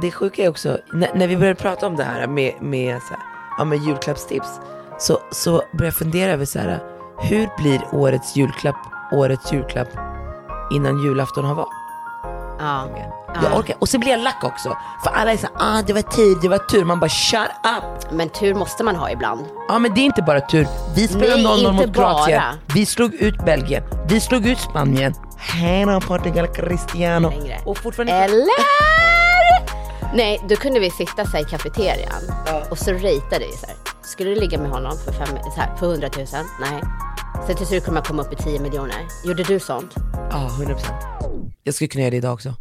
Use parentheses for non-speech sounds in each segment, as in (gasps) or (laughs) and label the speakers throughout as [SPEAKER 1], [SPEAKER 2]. [SPEAKER 1] det sjuka är också, när, när vi började prata om det här med, med, så här, ja, med julklappstips, så, så började jag fundera över så här, hur blir årets julklapp årets julklapp innan julafton har varit?
[SPEAKER 2] Ja.
[SPEAKER 1] Jag orkar. Och så blir jag lack också. För alla är så här, ah, det var tid, det var tur. Man bara, shut up!
[SPEAKER 2] Men tur måste man ha ibland.
[SPEAKER 1] Ja, men det är inte bara tur. Vi spelade
[SPEAKER 2] Nej,
[SPEAKER 1] 0-0
[SPEAKER 2] inte
[SPEAKER 1] mot Kroatien.
[SPEAKER 2] bara.
[SPEAKER 1] Vi slog ut Belgien. Vi slog ut Spanien. Hej då Portugal, Cristiano.
[SPEAKER 2] Längre.
[SPEAKER 1] Och fortfarande
[SPEAKER 2] Eller? Nej, då kunde vi sitta så här i kafeterian och så ratade vi så här. Skulle du ligga med honom för, fem, så här, för 100 000? Nej. Sen till slut kommer jag komma upp i 10 miljoner. Gjorde du sånt?
[SPEAKER 1] Ja, 100 procent. Jag skulle kunna göra det idag också.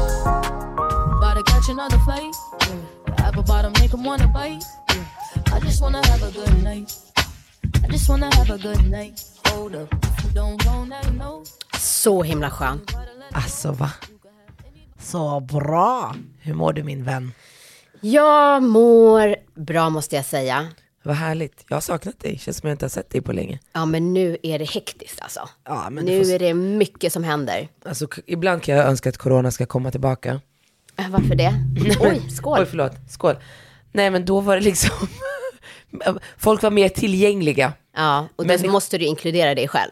[SPEAKER 3] About to catch another fight. Apple bottom make 'em wanna bite. I just wanna have a good night. I just wanna have a good night. Hold up. If you don't know, now you know.
[SPEAKER 2] Så himla skönt.
[SPEAKER 1] Alltså va? Så bra! Hur mår du min vän?
[SPEAKER 2] Jag mår bra måste jag säga.
[SPEAKER 1] Vad härligt. Jag har saknat dig. Känns som jag inte har sett dig på länge.
[SPEAKER 2] Ja, men nu är det hektiskt alltså.
[SPEAKER 1] Ja, men du
[SPEAKER 2] nu
[SPEAKER 1] får-
[SPEAKER 2] är det mycket som händer.
[SPEAKER 1] Alltså, k- ibland kan jag önska att corona ska komma tillbaka.
[SPEAKER 2] Äh,
[SPEAKER 1] (laughs)
[SPEAKER 2] Varför det? Oj, skål.
[SPEAKER 1] Oj, förlåt. Skål. Nej, men då var det liksom... (laughs) Folk var mer tillgängliga.
[SPEAKER 2] Ja, och då
[SPEAKER 1] Men
[SPEAKER 2] så
[SPEAKER 1] det-
[SPEAKER 2] måste du inkludera dig själv.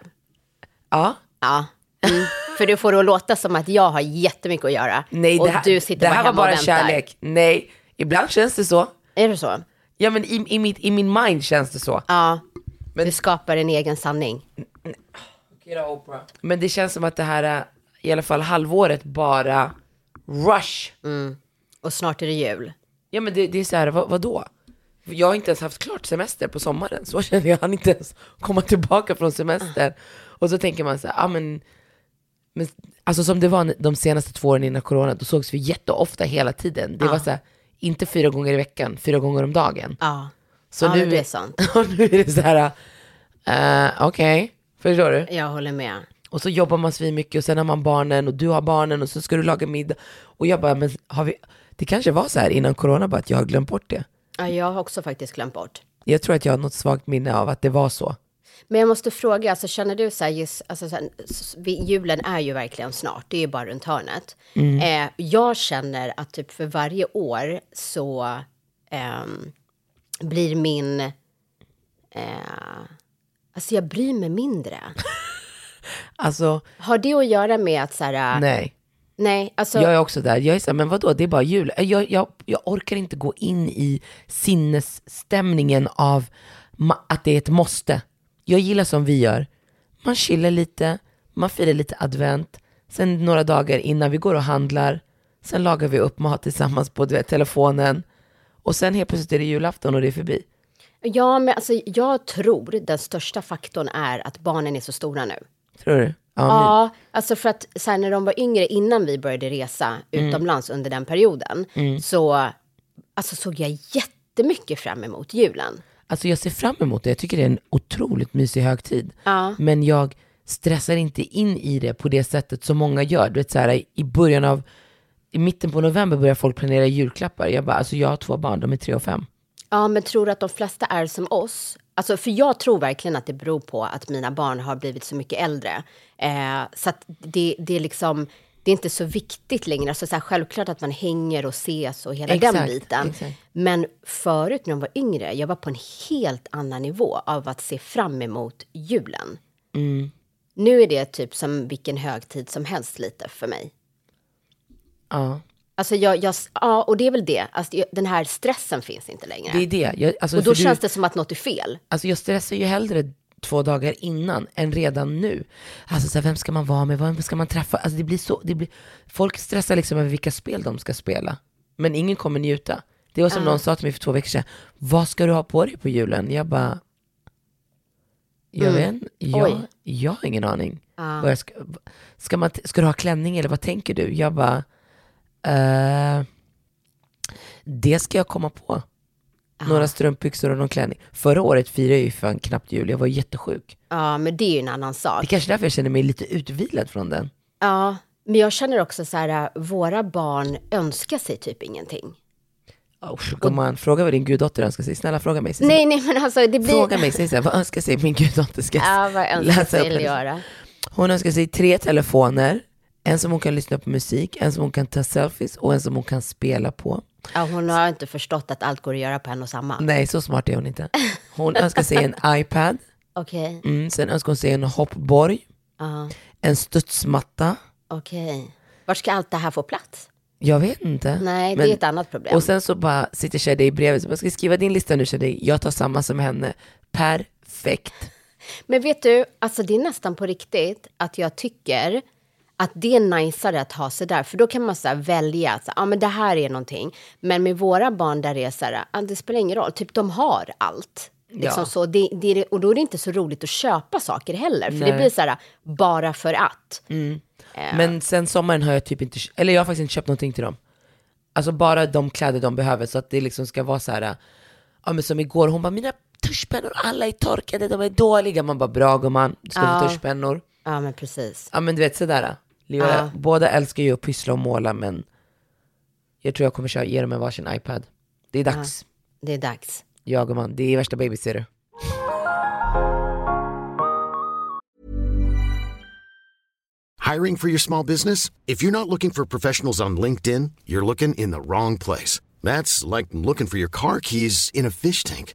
[SPEAKER 1] Ja.
[SPEAKER 2] Ja. Mm. För du får det att låta som att jag har jättemycket att göra.
[SPEAKER 1] Nej,
[SPEAKER 2] och
[SPEAKER 1] det här,
[SPEAKER 2] du sitter
[SPEAKER 1] det
[SPEAKER 2] bara
[SPEAKER 1] här var
[SPEAKER 2] hemma och
[SPEAKER 1] bara
[SPEAKER 2] väntar.
[SPEAKER 1] kärlek. Nej, ibland känns det så.
[SPEAKER 2] Är det så?
[SPEAKER 1] Ja, men i, i, mitt, i min mind känns det så.
[SPEAKER 2] Ja.
[SPEAKER 1] Men-
[SPEAKER 2] Du skapar din egen sanning.
[SPEAKER 1] Men det känns som att det här, eh, i alla fall halvåret, bara rush.
[SPEAKER 2] Och snart är det jul.
[SPEAKER 1] Ja men det, det är så här, vad, vadå? Jag har inte ens haft klart semester på sommaren, så känner jag. Han inte ens komma tillbaka från semester. Och så tänker man så här, ah, men, men, alltså som det var de senaste två åren innan corona, då sågs vi jätteofta hela tiden. Det var så här, inte fyra gånger i veckan, fyra gånger om dagen.
[SPEAKER 2] Ja.
[SPEAKER 1] Så
[SPEAKER 2] ja,
[SPEAKER 1] nu,
[SPEAKER 2] men det är sant.
[SPEAKER 1] (laughs) och nu är det så här, eh, okej, förstår du?
[SPEAKER 2] Jag håller med.
[SPEAKER 1] Och så jobbar man svinmycket mycket och sen har man barnen och du har barnen och så ska du laga middag. Och jag bara, men har vi... Det kanske var så här innan corona bara att jag har glömt bort det.
[SPEAKER 2] Ja, jag har också faktiskt glömt bort.
[SPEAKER 1] Jag tror att jag har något svagt minne av att det var så.
[SPEAKER 2] Men jag måste fråga, alltså, känner du så här, just, alltså, så här, s- vi- julen är ju verkligen snart, det är ju bara runt hörnet.
[SPEAKER 1] Mm.
[SPEAKER 2] Eh, jag känner att typ för varje år så ehm, blir min... Eh, alltså jag bryr mig mindre.
[SPEAKER 1] Alltså,
[SPEAKER 2] Har det att göra med att så här... eh,
[SPEAKER 1] nej.
[SPEAKER 2] nej, alltså...
[SPEAKER 1] Jag är också där. Jag är så här, men vadå, det är bara jul. Äh, Jag, jag, jag orkar inte gå in i sinnesstämningen av ma- att det är ett måste. Jag gillar som vi gör. Man chillar lite, man firar lite advent, sen några dagar innan vi går och handlar, sen lagar vi upp mat tillsammans på du vet, telefonen och sen helt plötsligt är det julafton och det är förbi.
[SPEAKER 2] Ja, men alltså, jag tror den största faktorn är att barnen är så stora nu.
[SPEAKER 1] Tror du? Ja,
[SPEAKER 2] Ja, alltså för att så här, när de var yngre, innan vi började resa utomlands under den perioden, så alltså, såg jag jättemycket fram emot julen.
[SPEAKER 1] Alltså jag ser fram emot det. Jag tycker det är en otroligt mysig högtid.
[SPEAKER 2] Ja.
[SPEAKER 1] Men jag stressar inte in i det på det sättet som många gör. Du vet så här, i början av, i mitten på november börjar folk planera julklappar. Jag bara, alltså jag har två barn, de är tre och fem.
[SPEAKER 2] Ja, men tror du att de flesta är som oss? Alltså, för jag tror verkligen att det beror på att mina barn har blivit så mycket äldre. Eh, så att det, det är liksom... Det är inte så viktigt längre. Alltså, så här, självklart att man hänger och ses och hela den
[SPEAKER 1] Exakt,
[SPEAKER 2] biten.
[SPEAKER 1] exakt.
[SPEAKER 2] Men förut när de var yngre, jag var på en helt annan nivå av att se fram emot julen.
[SPEAKER 1] Mm.
[SPEAKER 2] Nu är det typ som vilken högtid som helst lite för mig.
[SPEAKER 1] Ja,
[SPEAKER 2] Alltså jag, jag, ja, och det är väl det. Alltså, jag- den här stressen finns inte längre.
[SPEAKER 1] det är det. Jag, alltså,
[SPEAKER 2] och då
[SPEAKER 1] för du-
[SPEAKER 2] känns det som att något är fel.
[SPEAKER 1] Alltså jag stressar ju hellre två dagar innan än redan nu. Alltså så här, vem ska man vara med, vem ska man träffa? Alltså det blir så, det blir, folk stressar liksom över vilka spel de ska spela. Men ingen kommer njuta. Det var som någon sa till mig för två veckor sedan, vad ska du ha på dig på julen? Jag bara, jag vet inte. jag,
[SPEAKER 2] Oj.
[SPEAKER 1] jag har ingen aning. Vad jag ska, ska, man, t- ska du ha klänning eller vad tänker du? Jag bara, eh, det ska jag komma på. Några strumpbyxor och någon klänning. Förra året firade jag ju fan knappt jul, jag var jättesjuk.
[SPEAKER 2] Ja, men det är ju en annan
[SPEAKER 1] Det är
[SPEAKER 2] sak.
[SPEAKER 1] kanske är därför jag känner mig lite utvilad från den.
[SPEAKER 2] äh, Ja, men jag känner också så här, våra barn önskar sig typ ingenting.
[SPEAKER 1] Oh, gumman, fråga vad din guddotter önskar sig. Snälla fråga mig. Säg så.
[SPEAKER 2] Nej, nej, men alltså det blir...
[SPEAKER 1] Fråga mig, säg så här, vad önskar sig min guddotter? Ska
[SPEAKER 2] Ja, vad jag önskar
[SPEAKER 1] läsa upp
[SPEAKER 2] sig
[SPEAKER 1] hennes-
[SPEAKER 2] göra.
[SPEAKER 1] Hon önskar sig tre telefoner. En som hon kan lyssna på musik, en som hon kan ta selfies och en som hon kan spela på.
[SPEAKER 2] Ja, hon har inte förstått att allt går att göra på en och samma.
[SPEAKER 1] Nej, så smart är hon inte. Hon önskar sig
[SPEAKER 2] (laughs)
[SPEAKER 1] en iPad.
[SPEAKER 2] Okej,
[SPEAKER 1] Mm, sen önskar hon sig en hoppborg,
[SPEAKER 2] ja,
[SPEAKER 1] en studsmatta.
[SPEAKER 2] okej. Var ska allt det här få plats?
[SPEAKER 1] Jag vet inte.
[SPEAKER 2] Nej, det
[SPEAKER 1] Men-
[SPEAKER 2] är ett annat problem.
[SPEAKER 1] Och sen så bara sitter Shadi bredvid. Så jag ska skriva din lista nu Shadi. Jag tar samma som henne. Perfekt.
[SPEAKER 2] Men vet du, alltså det är nästan på riktigt att jag tycker att det är najsare att ha sig där, för då kan man så här välja att ah, men det här är någonting. Men med våra barn där det är så här, ah, det spelar ingen roll, typ de har allt. Liksom
[SPEAKER 1] Ja.
[SPEAKER 2] så, det, det, är det- och då är det inte så roligt att köpa saker heller, för det
[SPEAKER 1] Nej. Mm.
[SPEAKER 2] blir så här, bara för att.
[SPEAKER 1] Men sen sommaren har jag typ inte, eller jag har faktiskt inte köpt någonting till dem. Alltså bara de kläder de behöver så att det liksom ska vara så här. Ja men som igår, hon bara mina tuschpennor, alla är torkade, de är dåliga. Man bara bra gumman, du ska få
[SPEAKER 2] Ja.
[SPEAKER 1] tuschpennor.
[SPEAKER 2] Ja, men precis.
[SPEAKER 1] Ja men du vet sådär. Leo,
[SPEAKER 2] Ja.
[SPEAKER 1] Båda älskar ju att pyssla och måla men jag tror jag kommer köra, ge dem en varsin iPad. Det är dags.
[SPEAKER 2] Det är dags.
[SPEAKER 1] Ja gumman, det är värsta babysitter.
[SPEAKER 4] Hiring for your small business? If you're not looking for professionals on LinkedIn, you're looking in the wrong place. That's like looking for your car keys in a fish tank.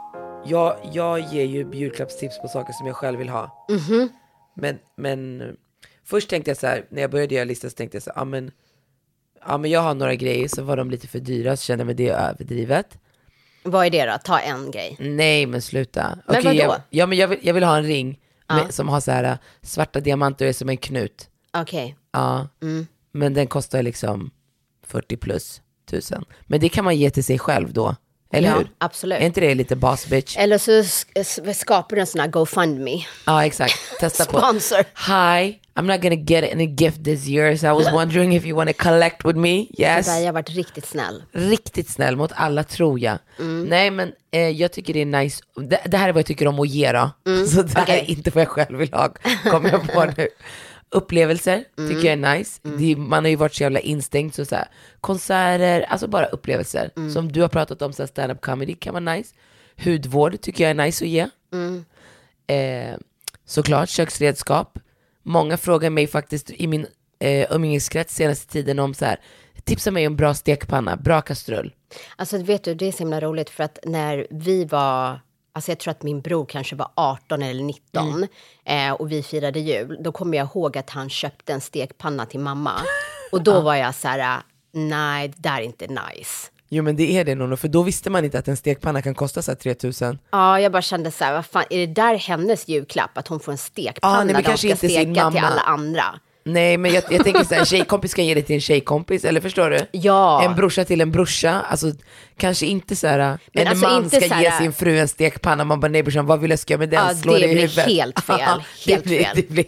[SPEAKER 1] Jag, jag ger ju julklappstips på saker som jag själv vill ha.
[SPEAKER 2] Mhm.
[SPEAKER 1] Men, men eh, först tänkte jag så här, när jag började göra listan så tänkte jag så här, ja men, ja men jag har några grejer, så var de lite för dyra, så kände jag men det är överdrivet.
[SPEAKER 2] Vad är det då? Ta en grej.
[SPEAKER 1] Nej men sluta.
[SPEAKER 2] Men
[SPEAKER 1] Okej, jag,
[SPEAKER 2] vadå?
[SPEAKER 1] ja men jag vill, jag vill ha en ring med, som har så här eh, svarta diamanter och är som en knut.
[SPEAKER 2] Okej.
[SPEAKER 1] Ja.
[SPEAKER 2] Mm.
[SPEAKER 1] Men den kostar liksom 40 plus tusen. Men det kan man ge till sig själv då, eller
[SPEAKER 2] Ja,
[SPEAKER 1] hur?
[SPEAKER 2] absolut.
[SPEAKER 1] Är inte det lite boss bitch?
[SPEAKER 2] Eller så sk- s- skapar du en sån här GoFundMe.
[SPEAKER 1] Ja, exakt. Testa på.
[SPEAKER 2] Sponsor.
[SPEAKER 1] Hi, I'm not gonna get any gift this year, so I was wondering if you wanna collect with me? Yes.
[SPEAKER 2] Där jag har varit riktigt snäll.
[SPEAKER 1] Riktigt snäll mot alla tror jag. Nej men eh, jag tycker det är nice, det, det här är vad jag tycker om att ge då. Så det här
[SPEAKER 2] okej.
[SPEAKER 1] är inte vad jag själv vill ha, kommer jag på nu. Upplevelser tycker jag är nice. Det, är- man har ju varit så jävla instängd, så, så här, konserter, alltså bara upplevelser. Som du har pratat om, så här, stand-up comedy kan vara nice. Hudvård tycker jag är nice att ge. Eh, såklart köksredskap. Många frågar mig faktiskt i min eh, umgängeskrets senaste tiden om så här, tipsa mig om bra stekpanna, bra kastrull.
[SPEAKER 2] Alltså vet du, det är så himla roligt för att när vi var, alltså jag tror att min bror kanske var 18 eller 19
[SPEAKER 1] Mm.
[SPEAKER 2] eh, och vi firade jul, då kommer jag ihåg att han köpte en stekpanna till mamma. Och då var jag så här, nej, det där är inte nice.
[SPEAKER 1] Jo men det är det Nono, för då visste man inte att en stekpanna kan kosta så här 3000.
[SPEAKER 2] Ja, jag bara kände så här, vad fan, är det där hennes julklapp? Att hon får en stekpanna
[SPEAKER 1] Ja, nej, men
[SPEAKER 2] där hon
[SPEAKER 1] kanske
[SPEAKER 2] ska
[SPEAKER 1] inte sin
[SPEAKER 2] steka till
[SPEAKER 1] mamma.
[SPEAKER 2] alla andra.
[SPEAKER 1] Nej men jag, jag tänker så här, en tjejkompis kan ge det till en tjejkompis, eller förstår du?
[SPEAKER 2] Ja.
[SPEAKER 1] En brorsa till en brorsa, alltså kanske inte så här, en
[SPEAKER 2] alltså,
[SPEAKER 1] man
[SPEAKER 2] inte
[SPEAKER 1] ska
[SPEAKER 2] så här-
[SPEAKER 1] ge sin fru en stekpanna, man bara nej brorsan vad vill jag ska göra med den?
[SPEAKER 2] Ja,
[SPEAKER 1] Slå
[SPEAKER 2] det
[SPEAKER 1] dig i
[SPEAKER 2] blir
[SPEAKER 1] huvudet.
[SPEAKER 2] helt
[SPEAKER 1] (laughs)
[SPEAKER 2] fel, helt
[SPEAKER 1] det blir,
[SPEAKER 2] fel.
[SPEAKER 1] Det blir,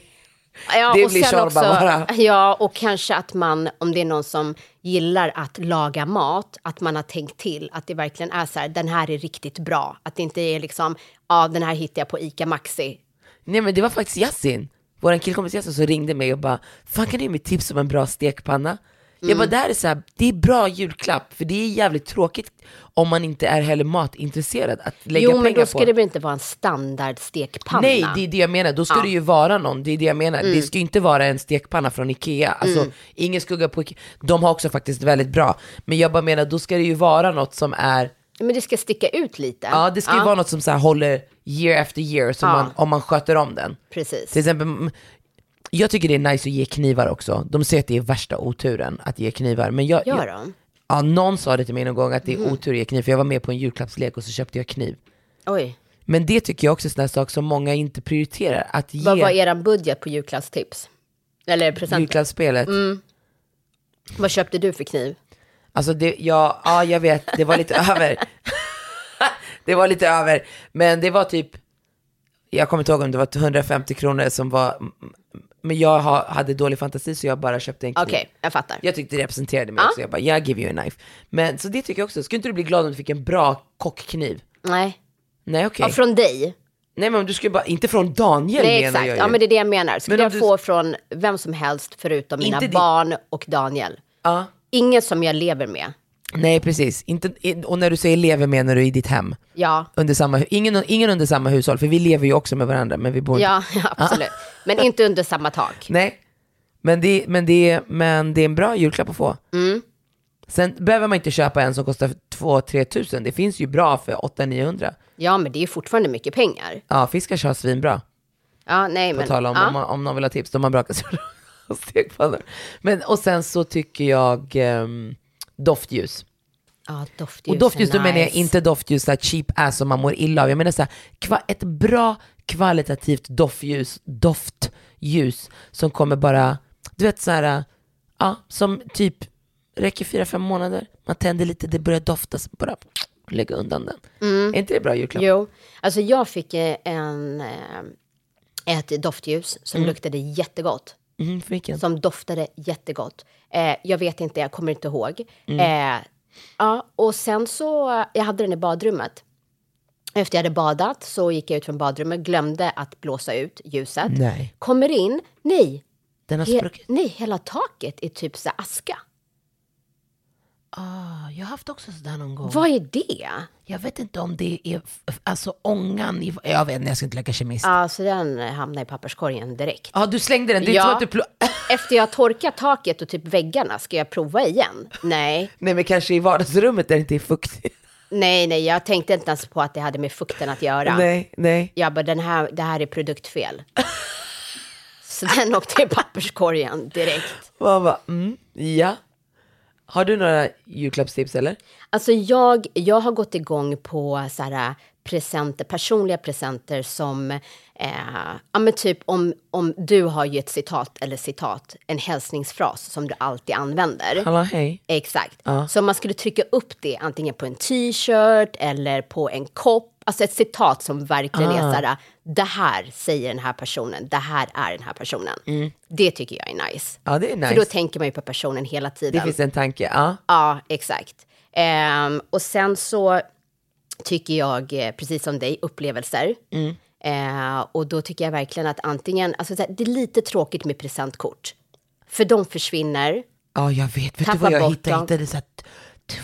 [SPEAKER 2] Ja,
[SPEAKER 1] Det
[SPEAKER 2] och
[SPEAKER 1] blir
[SPEAKER 2] sen
[SPEAKER 1] Charles
[SPEAKER 2] också,
[SPEAKER 1] bara.
[SPEAKER 2] Ja, och kanske att man, om det är någon som gillar att laga mat, att man har tänkt till att det verkligen är så här, den här är riktigt bra. Att det inte är liksom, ja, den här hittar jag på ICA Maxi.
[SPEAKER 1] Nej men det var faktiskt Yasin, vår killkompis Yasin som ringde mig och bara, fan kan du ge mig tips om en bra stekpanna? Jag
[SPEAKER 2] Mm.
[SPEAKER 1] bara, det här är så här, det är bra julklapp, för det är jävligt tråkigt om man inte är heller matintresserad att lägga
[SPEAKER 2] Jo, men
[SPEAKER 1] pengar
[SPEAKER 2] då
[SPEAKER 1] på.
[SPEAKER 2] ska det väl inte vara en standardstekpanna?
[SPEAKER 1] Nej, det är det jag menar. Då ska det ju vara någon, det är det jag menar.
[SPEAKER 2] Mm.
[SPEAKER 1] Det ska ju inte vara en stekpanna från Ikea. Alltså, ingen skugga på Ikea. De har också faktiskt väldigt bra. Men jag bara menar, då ska det ju vara något som är,
[SPEAKER 2] Men det ska sticka ut lite.
[SPEAKER 1] ja det ska ju vara något som så här håller year efter year, som man, om man sköter om den.
[SPEAKER 2] Precis.
[SPEAKER 1] Till exempel, mm, jag tycker det är nice att ge knivar också. De säger att det är värsta oturen att ge knivar. Men jag,
[SPEAKER 2] Gör Mhm.
[SPEAKER 1] jag,
[SPEAKER 2] de?
[SPEAKER 1] ja, någon sa det till mig någon gång att det är otur att ge kniv, för jag var med på en julklappslek och så köpte jag kniv.
[SPEAKER 2] Oj.
[SPEAKER 1] Men det tycker jag också är en sån här sak som många inte prioriterar. Att ge
[SPEAKER 2] Vad var er budget på julklappstips? Eller present?
[SPEAKER 1] julklappsspelet.
[SPEAKER 2] Vad köpte du för kniv?
[SPEAKER 1] Alltså det, ja, ja, jag vet, det var
[SPEAKER 2] (laughs)
[SPEAKER 1] lite över. det var lite över. Men det var typ, jag kommer inte ihåg om det var 150 kronor som var, men jag ha, hade dålig fantasi så jag bara köpte en kniv.
[SPEAKER 2] Okej, jag fattar.
[SPEAKER 1] Jag tyckte det representerade mig också, jag bara, yeah, I give you a knife. Men så det tycker jag också, skulle inte du bli glad om du fick en bra kockkniv?
[SPEAKER 2] Nej.
[SPEAKER 1] Nej okej.
[SPEAKER 2] Ja, från dig.
[SPEAKER 1] Nej men om du skulle bara, inte från Daniel
[SPEAKER 2] Nej,
[SPEAKER 1] menar
[SPEAKER 2] exakt.
[SPEAKER 1] jag
[SPEAKER 2] Ja,
[SPEAKER 1] ju.
[SPEAKER 2] men det är det jag menar. Skulle
[SPEAKER 1] Men om
[SPEAKER 2] jag
[SPEAKER 1] du-
[SPEAKER 2] få från vem som helst förutom mina
[SPEAKER 1] Inte din-
[SPEAKER 2] barn och Daniel.
[SPEAKER 1] Ja.
[SPEAKER 2] Inget som jag lever med.
[SPEAKER 1] Nej precis, inte, och när du säger lever menar du i ditt hem?
[SPEAKER 2] Ja,
[SPEAKER 1] Under samma, ingen, ingen under samma hushåll, för vi lever ju också med varandra men vi bor inte
[SPEAKER 2] ja (laughs) absolut. Men inte under samma tak.
[SPEAKER 1] Nej, men det, men, det, men det är en bra julklapp att få.
[SPEAKER 2] Mm.
[SPEAKER 1] Sen behöver man inte köpa en som kostar 2-3 tusen. Det finns ju bra för 800-900.
[SPEAKER 2] Ja, men det är ju fortfarande mycket pengar.
[SPEAKER 1] Ja, Fiskars har svinbra.
[SPEAKER 2] Ja, nej, men...
[SPEAKER 1] På tal om,
[SPEAKER 2] ja.
[SPEAKER 1] om, man- om någon vill ha tips, de har bra (laughs) kastruller och stekpannor. Men, och sen så tycker jag ehm, doftljus.
[SPEAKER 2] Ja, doftljus
[SPEAKER 1] Och doftljus,
[SPEAKER 2] är
[SPEAKER 1] då menar jag
[SPEAKER 2] nice.
[SPEAKER 1] inte doftljus så här cheap ass som man mår illa av. Jag menar så här, kva, ett bra kvalitativt doftljus, doftljus som kommer bara, du vet så här, ja, som typ räcker fyra, fem månader. Man tänder lite, det börjar dofta, så bara lägga undan den. Är inte det bra julklapp?
[SPEAKER 2] Jo, alltså jag fick eh, en, eh, ett doftljus som luktade jättegott.
[SPEAKER 1] Mm, för vilken?
[SPEAKER 2] Som doftade jättegott. Eh, jag vet inte, jag kommer inte ihåg.
[SPEAKER 1] Mm.
[SPEAKER 2] Eh, ja, och sen så, jag hade den i badrummet. Efter jag hade badat så gick jag ut från badrummet, glömde att blåsa ut ljuset.
[SPEAKER 1] Nej,
[SPEAKER 2] Kommer in, nej,
[SPEAKER 1] den har
[SPEAKER 2] he,
[SPEAKER 1] spruckit.
[SPEAKER 2] nej, hela taket är typ så här aska.
[SPEAKER 1] Ah, jag har haft också sådär någon gång.
[SPEAKER 2] Vad är det?
[SPEAKER 1] Jag vet inte om det är, f- f- alltså ångan, i, jag vet inte, jag ska inte leka kemist. Ja,
[SPEAKER 2] Ja, så den eh, hamnade i papperskorgen direkt.
[SPEAKER 1] ah, du slängde den, det är
[SPEAKER 2] Ja.
[SPEAKER 1] som att du pl-
[SPEAKER 2] Efter jag torkat taket och typ väggarna, ska jag prova igen? Nej,
[SPEAKER 1] Nej men kanske i vardagsrummet där det inte är fuktigt.
[SPEAKER 2] nej, nej, jag tänkte inte ens på att det hade med fukten att göra.
[SPEAKER 1] Nej, nej.
[SPEAKER 2] Jag bara, den här, det här är produktfel. (laughs) Så den åkte i papperskorgen direkt.
[SPEAKER 1] Man bara, mm, ja. Har du några julklappstips eller?
[SPEAKER 2] Alltså jag, jag har gått igång på så här, äh, presenter, personliga presenter som, eh, ja men typ om, om du har ju ett citat eller citat, en hälsningsfras som du alltid använder.
[SPEAKER 1] Hallå hej.
[SPEAKER 2] Exakt. Så man skulle trycka upp det antingen på en t-shirt eller på en kopp. Alltså ett citat som verkligen är
[SPEAKER 1] Ah.
[SPEAKER 2] så här, det här säger den här personen, det här är den här personen. Det tycker jag är nice.
[SPEAKER 1] Ja det är Mm. nice.
[SPEAKER 2] För då tänker man ju på personen hela
[SPEAKER 1] det
[SPEAKER 2] tiden.
[SPEAKER 1] finns en tanke, ja.
[SPEAKER 2] Ja, exakt. Ehm, och sen så tycker jag, eh, precis som dig, upplevelser.
[SPEAKER 1] Mm.
[SPEAKER 2] Eh, och då tycker jag verkligen att antingen, alltså så här, det är lite tråkigt med presentkort. För de försvinner.
[SPEAKER 1] Ja jag vet, vet
[SPEAKER 2] Tappa
[SPEAKER 1] du vad jag
[SPEAKER 2] bort
[SPEAKER 1] hittade? Jag
[SPEAKER 2] dem.
[SPEAKER 1] hittade så här t-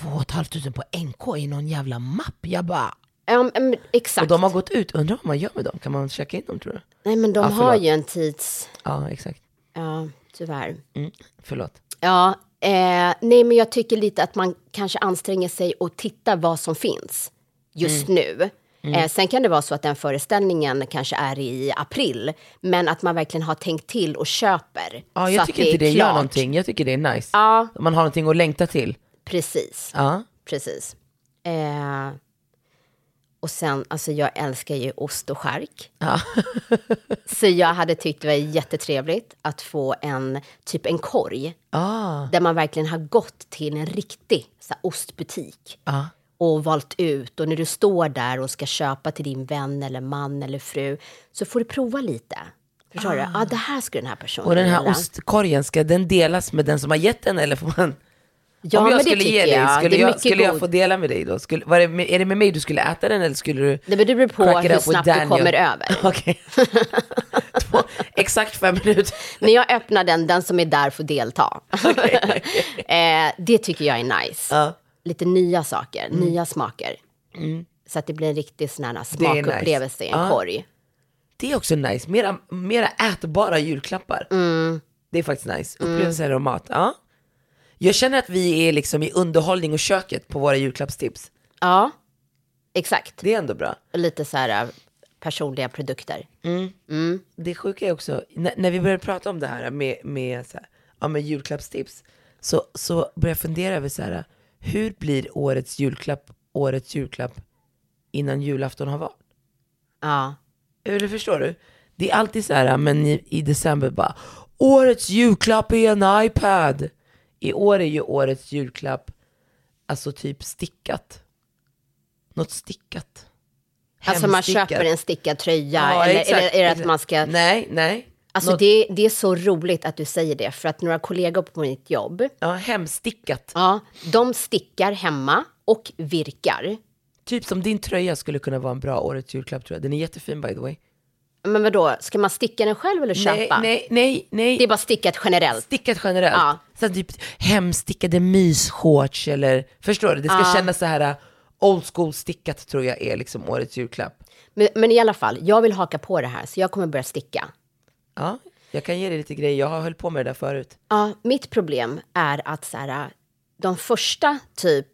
[SPEAKER 1] två och ett halvt tusen på NK i någon jävla mapp. Jag bara,
[SPEAKER 2] Ja, men exakt.
[SPEAKER 1] och de har gått ut, undrar vad man gör med dem? Kan man checka in dem tror du?
[SPEAKER 2] Nej, men de
[SPEAKER 1] Ja,
[SPEAKER 2] har
[SPEAKER 1] förlåt.
[SPEAKER 2] ju en tids...
[SPEAKER 1] Ja exakt.
[SPEAKER 2] Ja, tyvärr.
[SPEAKER 1] Mm. Förlåt.
[SPEAKER 2] Ja, eh, nej, men jag tycker lite att man kanske anstränger sig och tittar vad som finns just
[SPEAKER 1] Mm.
[SPEAKER 2] nu. Eh, sen kan det vara så att den föreställningen kanske är i april, men att man verkligen har tänkt till och köper.
[SPEAKER 1] Ja
[SPEAKER 2] så
[SPEAKER 1] jag
[SPEAKER 2] att
[SPEAKER 1] tycker inte
[SPEAKER 2] är
[SPEAKER 1] det gör
[SPEAKER 2] klart.
[SPEAKER 1] någonting, jag tycker det är nice.
[SPEAKER 2] Ja,
[SPEAKER 1] Man har någonting att längta till.
[SPEAKER 2] precis.
[SPEAKER 1] Ja.
[SPEAKER 2] precis. Eh, och sen, alltså jag älskar ju ost och skärk.
[SPEAKER 1] Ja. (laughs)
[SPEAKER 2] så jag hade tyckt det var jättetrevligt att få en, typ en korg
[SPEAKER 1] Ah.
[SPEAKER 2] där man verkligen har gått till en riktig så här, ostbutik
[SPEAKER 1] Ja.
[SPEAKER 2] och valt ut. Och när du står där och ska köpa till din vän eller man eller fru så får du prova lite. Förstår du? Ja, det här skulle den här personen
[SPEAKER 1] Ah. Och den här
[SPEAKER 2] gilla.
[SPEAKER 1] ostkorgen, ska den delas med den som har gett den eller får man?
[SPEAKER 2] Ja,
[SPEAKER 1] Om
[SPEAKER 2] men
[SPEAKER 1] jag
[SPEAKER 2] det
[SPEAKER 1] skulle ge
[SPEAKER 2] tycker
[SPEAKER 1] dig,
[SPEAKER 2] jag.
[SPEAKER 1] skulle,
[SPEAKER 2] det är
[SPEAKER 1] jag,
[SPEAKER 2] mycket
[SPEAKER 1] skulle jag
[SPEAKER 2] god-
[SPEAKER 1] få dela med dig då? Skulle, var det, med- är det med mig du skulle äta den eller skulle du?
[SPEAKER 2] Nej, men det beror på
[SPEAKER 1] crack it
[SPEAKER 2] hur
[SPEAKER 1] up with
[SPEAKER 2] snabbt du
[SPEAKER 1] Daniel?
[SPEAKER 2] kommer över.
[SPEAKER 1] (laughs) Okej. (laughs) Två- Exakt fem
[SPEAKER 2] (laughs)
[SPEAKER 1] minuter.
[SPEAKER 2] När jag öppnar den, den som är där får delta. (laughs) eh, det tycker jag är nice.
[SPEAKER 1] Ja.
[SPEAKER 2] Lite nya saker,
[SPEAKER 1] Mm.
[SPEAKER 2] nya smaker. Så att det blir en riktig sån här
[SPEAKER 1] nice.
[SPEAKER 2] smakupplevelse i en
[SPEAKER 1] Ja.
[SPEAKER 2] korg.
[SPEAKER 1] Det är också nice, mera, mera ätbara julklappar.
[SPEAKER 2] Mm.
[SPEAKER 1] Det är faktiskt nice, upplevelser och mat. Ja. Jag känner att vi är liksom i underhållning och köket på våra julklappstips.
[SPEAKER 2] Ja, exakt.
[SPEAKER 1] Det är ändå bra.
[SPEAKER 2] Och lite så här eh, personliga produkter.
[SPEAKER 1] det sjuka är också, när, när vi började prata om det här med, med, så här, ja, med julklappstips, så, så började jag fundera över så här, hur blir årets julklapp årets julklapp innan julafton har varit?
[SPEAKER 2] Ja.
[SPEAKER 1] Eller förstår du? Det är alltid så här, men i, i december bara, årets julklapp är en iPad. I år är ju årets julklapp alltså typ stickat. Något stickat.
[SPEAKER 2] Alltså man
[SPEAKER 1] Hemstickat.
[SPEAKER 2] köper en stickad tröja
[SPEAKER 1] Ja,
[SPEAKER 2] eller är
[SPEAKER 1] exakt,
[SPEAKER 2] det, är det att
[SPEAKER 1] exakt.
[SPEAKER 2] man ska...
[SPEAKER 1] Nej, nej.
[SPEAKER 2] Alltså
[SPEAKER 1] Något-
[SPEAKER 2] det, det är så roligt att du säger det för att några kollegor på mitt jobb,
[SPEAKER 1] Ja, hemstickat.
[SPEAKER 2] ja, de stickar hemma och virkar.
[SPEAKER 1] Typ som din tröja skulle kunna vara en bra årets julklapp tror jag. Den är jättefin by the way.
[SPEAKER 2] Men vadå, ska man sticka den själv eller köpa?
[SPEAKER 1] Nej, nej, nej. nej.
[SPEAKER 2] Det är bara stickat generellt.
[SPEAKER 1] Stickat generellt.
[SPEAKER 2] Ja.
[SPEAKER 1] Sen typ hemstickade mysshorts eller, förstår du? Det ska kännas så här uh, old school stickat tror jag är liksom årets julklapp.
[SPEAKER 2] Men, men i alla fall, jag vill haka på det här så jag kommer börja sticka.
[SPEAKER 1] Ja, jag kan ge dig lite grejer. Jag har höll på med det där förut.
[SPEAKER 2] Ja, mitt problem är att så här, de första typ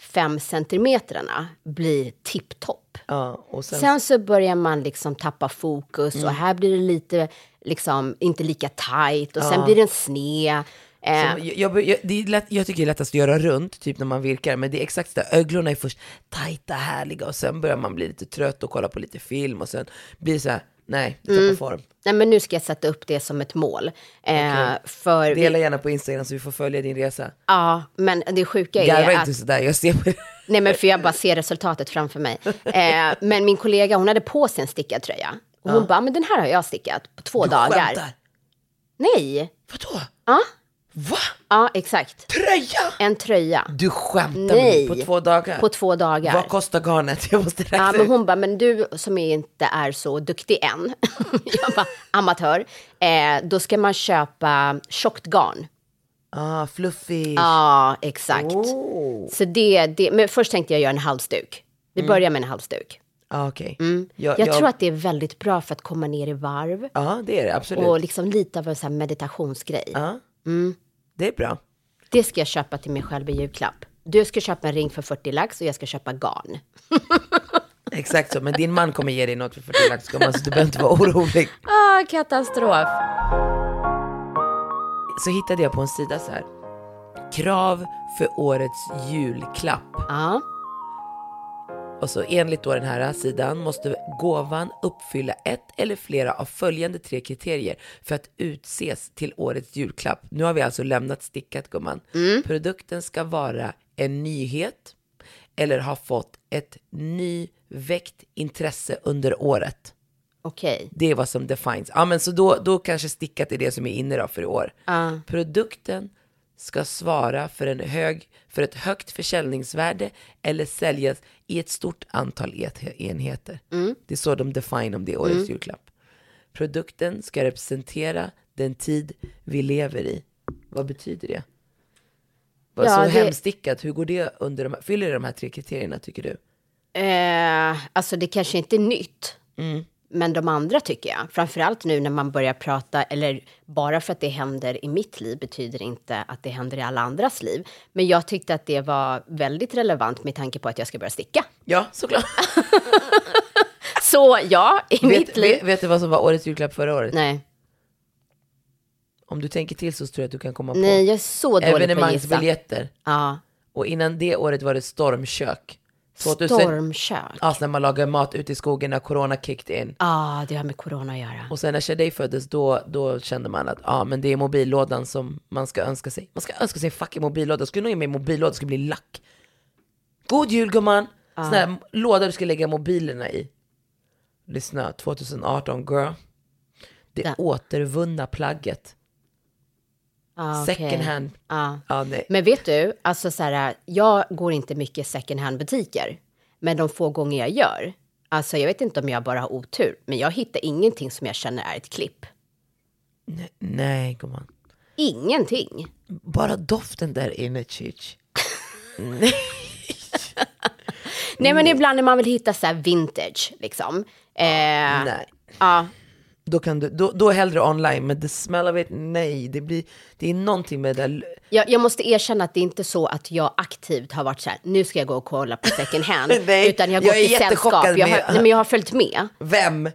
[SPEAKER 2] fem centimeterna blir tipptopp.
[SPEAKER 1] Ja, och sen, Mm.
[SPEAKER 2] Sen så börjar man liksom tappa fokus och här blir det lite, liksom, inte lika tajt och sen blir den sned. Eh,
[SPEAKER 1] som, jag, jag, jag- det är lätt, jag tycker det är lättast att göra runt, typ när man virkar. Men det är exakt så där. Öglorna är först tajta, härliga och sen börjar man bli lite trött och kolla på lite film och sen blir det så här, nej, jag
[SPEAKER 2] Mm.
[SPEAKER 1] tappar form.
[SPEAKER 2] nej, men nu ska jag sätta upp det som ett mål. Eh, För,
[SPEAKER 1] Dela gärna på Instagram så vi får följa din resa.
[SPEAKER 2] ja, men det sjuka
[SPEAKER 1] Garva
[SPEAKER 2] är att...
[SPEAKER 1] inte sådär, jag ser på det.
[SPEAKER 2] Nej, men för jag bara ser resultatet
[SPEAKER 1] (laughs)
[SPEAKER 2] framför mig. Eh, men min kollega, hon hade på sig en stickad tröja. Och hon bara, men den här har jag stickat på två dagar.
[SPEAKER 1] Skämtar.
[SPEAKER 2] Nej.
[SPEAKER 1] Vadå?
[SPEAKER 2] Ja,
[SPEAKER 1] Va?
[SPEAKER 2] ja, exakt.
[SPEAKER 1] Tröja?
[SPEAKER 2] En tröja
[SPEAKER 1] Du skämtar
[SPEAKER 2] Nej.
[SPEAKER 1] med mig på två dagar?
[SPEAKER 2] på två dagar.
[SPEAKER 1] Vad kostar garnet? (laughs) Jag måste räkna
[SPEAKER 2] Ja,
[SPEAKER 1] ut.
[SPEAKER 2] men hon bara, men du som inte är så duktig än, (laughs) jag bara, amatör, eh, då ska man köpa tjockt garn.
[SPEAKER 1] Ah, fluffig.
[SPEAKER 2] Ja, exakt.
[SPEAKER 1] Oh.
[SPEAKER 2] Så det, det, men först tänkte jag göra en halsduk. Vi
[SPEAKER 1] Mm.
[SPEAKER 2] börjar med en halsduk.
[SPEAKER 1] Ah, Okej.
[SPEAKER 2] Mm. Jag, tror att det är väldigt bra för att komma ner i varv
[SPEAKER 1] Ja, det är det. Absolut.
[SPEAKER 2] och liksom lite av en sån här meditationsgrej.
[SPEAKER 1] Ja.
[SPEAKER 2] Mm.
[SPEAKER 1] Det är bra.
[SPEAKER 2] Det ska jag köpa till mig själv i julklapp. Du ska köpa en ring för 40 lax och jag ska köpa garn.
[SPEAKER 1] Exakt så. Men din man kommer ge dig något för 40 lax gumman, så du behöver inte vara orolig.
[SPEAKER 2] Ah, katastrof.
[SPEAKER 1] Så hittade jag på en sida så här. Krav för årets julklapp.
[SPEAKER 2] Ja,
[SPEAKER 1] Och så enligt då den här sidan måste gåvan uppfylla ett eller flera av följande tre kriterier för att utses till årets julklapp. Nu har vi alltså lämnat stickat gumman. Produkten ska vara en nyhet eller ha fått ett nyväckt intresse under året.
[SPEAKER 2] okej.
[SPEAKER 1] Det är vad som defines. Ja men så då, då kanske stickat är det som är inne då för i år.
[SPEAKER 2] Ja.
[SPEAKER 1] Produkten ska svara för, en hög, för ett högt försäljningsvärde eller säljas i ett stort antal et- enheter.
[SPEAKER 2] Mm.
[SPEAKER 1] Det är så de define om det är årets julklapp. Produkten ska representera den tid vi lever i. Vad betyder det? Vad
[SPEAKER 2] Ja,
[SPEAKER 1] så
[SPEAKER 2] det-
[SPEAKER 1] hemstickat, hur går det under de här, fyller det de här tre kriterierna tycker du?
[SPEAKER 2] Eh, alltså det kanske inte är nytt.
[SPEAKER 1] Mm.
[SPEAKER 2] Men de andra tycker jag. Framförallt nu när man börjar prata, eller bara för att det händer i mitt liv betyder inte att det händer i alla andras liv. Men jag tyckte att det var väldigt relevant med tanke på att jag ska börja sticka.
[SPEAKER 1] Ja,
[SPEAKER 2] (laughs)
[SPEAKER 1] såklart.
[SPEAKER 2] Så ja, i mitt
[SPEAKER 1] vet,
[SPEAKER 2] liv.
[SPEAKER 1] vet, vet du vad som var årets julklapp förra året?
[SPEAKER 2] Nej.
[SPEAKER 1] Om du tänker till så tror jag att du kan komma
[SPEAKER 2] Nej, jag är
[SPEAKER 1] på
[SPEAKER 2] så dålig på att gissa.
[SPEAKER 1] evenemangsbiljetter.
[SPEAKER 2] Ja.
[SPEAKER 1] Och innan det året var det stormkök. 2000
[SPEAKER 2] Stormkök. Ja,
[SPEAKER 1] Ja, när man lagar mat ute i skogen när corona kicked in.
[SPEAKER 2] ah, det har med corona att göra.
[SPEAKER 1] Och sen när Shadej föddes då, då kände man att ja, men det är mobillådan som man ska önska sig. Man ska önska sig en fucking mobillåda. Jag Skulle nog ge mig en mobillåda, jag skulle bli lack. God jul gumman! Sån här låda du ska lägga mobilerna i. Lyssna, 2018 girl. Det
[SPEAKER 2] Ja.
[SPEAKER 1] återvunna plagget.
[SPEAKER 2] Ah, okej.
[SPEAKER 1] Second hand.
[SPEAKER 2] Ja.
[SPEAKER 1] Ja, nej.
[SPEAKER 2] Men vet du, alltså så här, jag går inte mycket second hand-butiker. Men de få gånger jag gör, alltså jag vet inte om jag bara har otur, men jag hittar ingenting som jag känner är ett klipp.
[SPEAKER 1] nej gumman.
[SPEAKER 2] Ingenting.
[SPEAKER 1] Bara doften där inne, Chich.
[SPEAKER 2] Nej, men ibland när man vill hitta så här vintage, liksom. Eh,
[SPEAKER 1] Nej.
[SPEAKER 2] ja,
[SPEAKER 1] Då, kan du, då, då hellre online, men the smell of it, nej. Det, blir, det är någonting med det där.
[SPEAKER 2] jag, jag måste erkänna att det är inte så att jag aktivt har varit så här, nu ska jag gå och kolla på second hand.
[SPEAKER 1] (laughs) Nej,
[SPEAKER 2] utan jag
[SPEAKER 1] jag
[SPEAKER 2] går
[SPEAKER 1] är
[SPEAKER 2] till sällskap.
[SPEAKER 1] jättechockad
[SPEAKER 2] Jag har,
[SPEAKER 1] med-
[SPEAKER 2] nej, men jag har följt med.
[SPEAKER 1] Vem?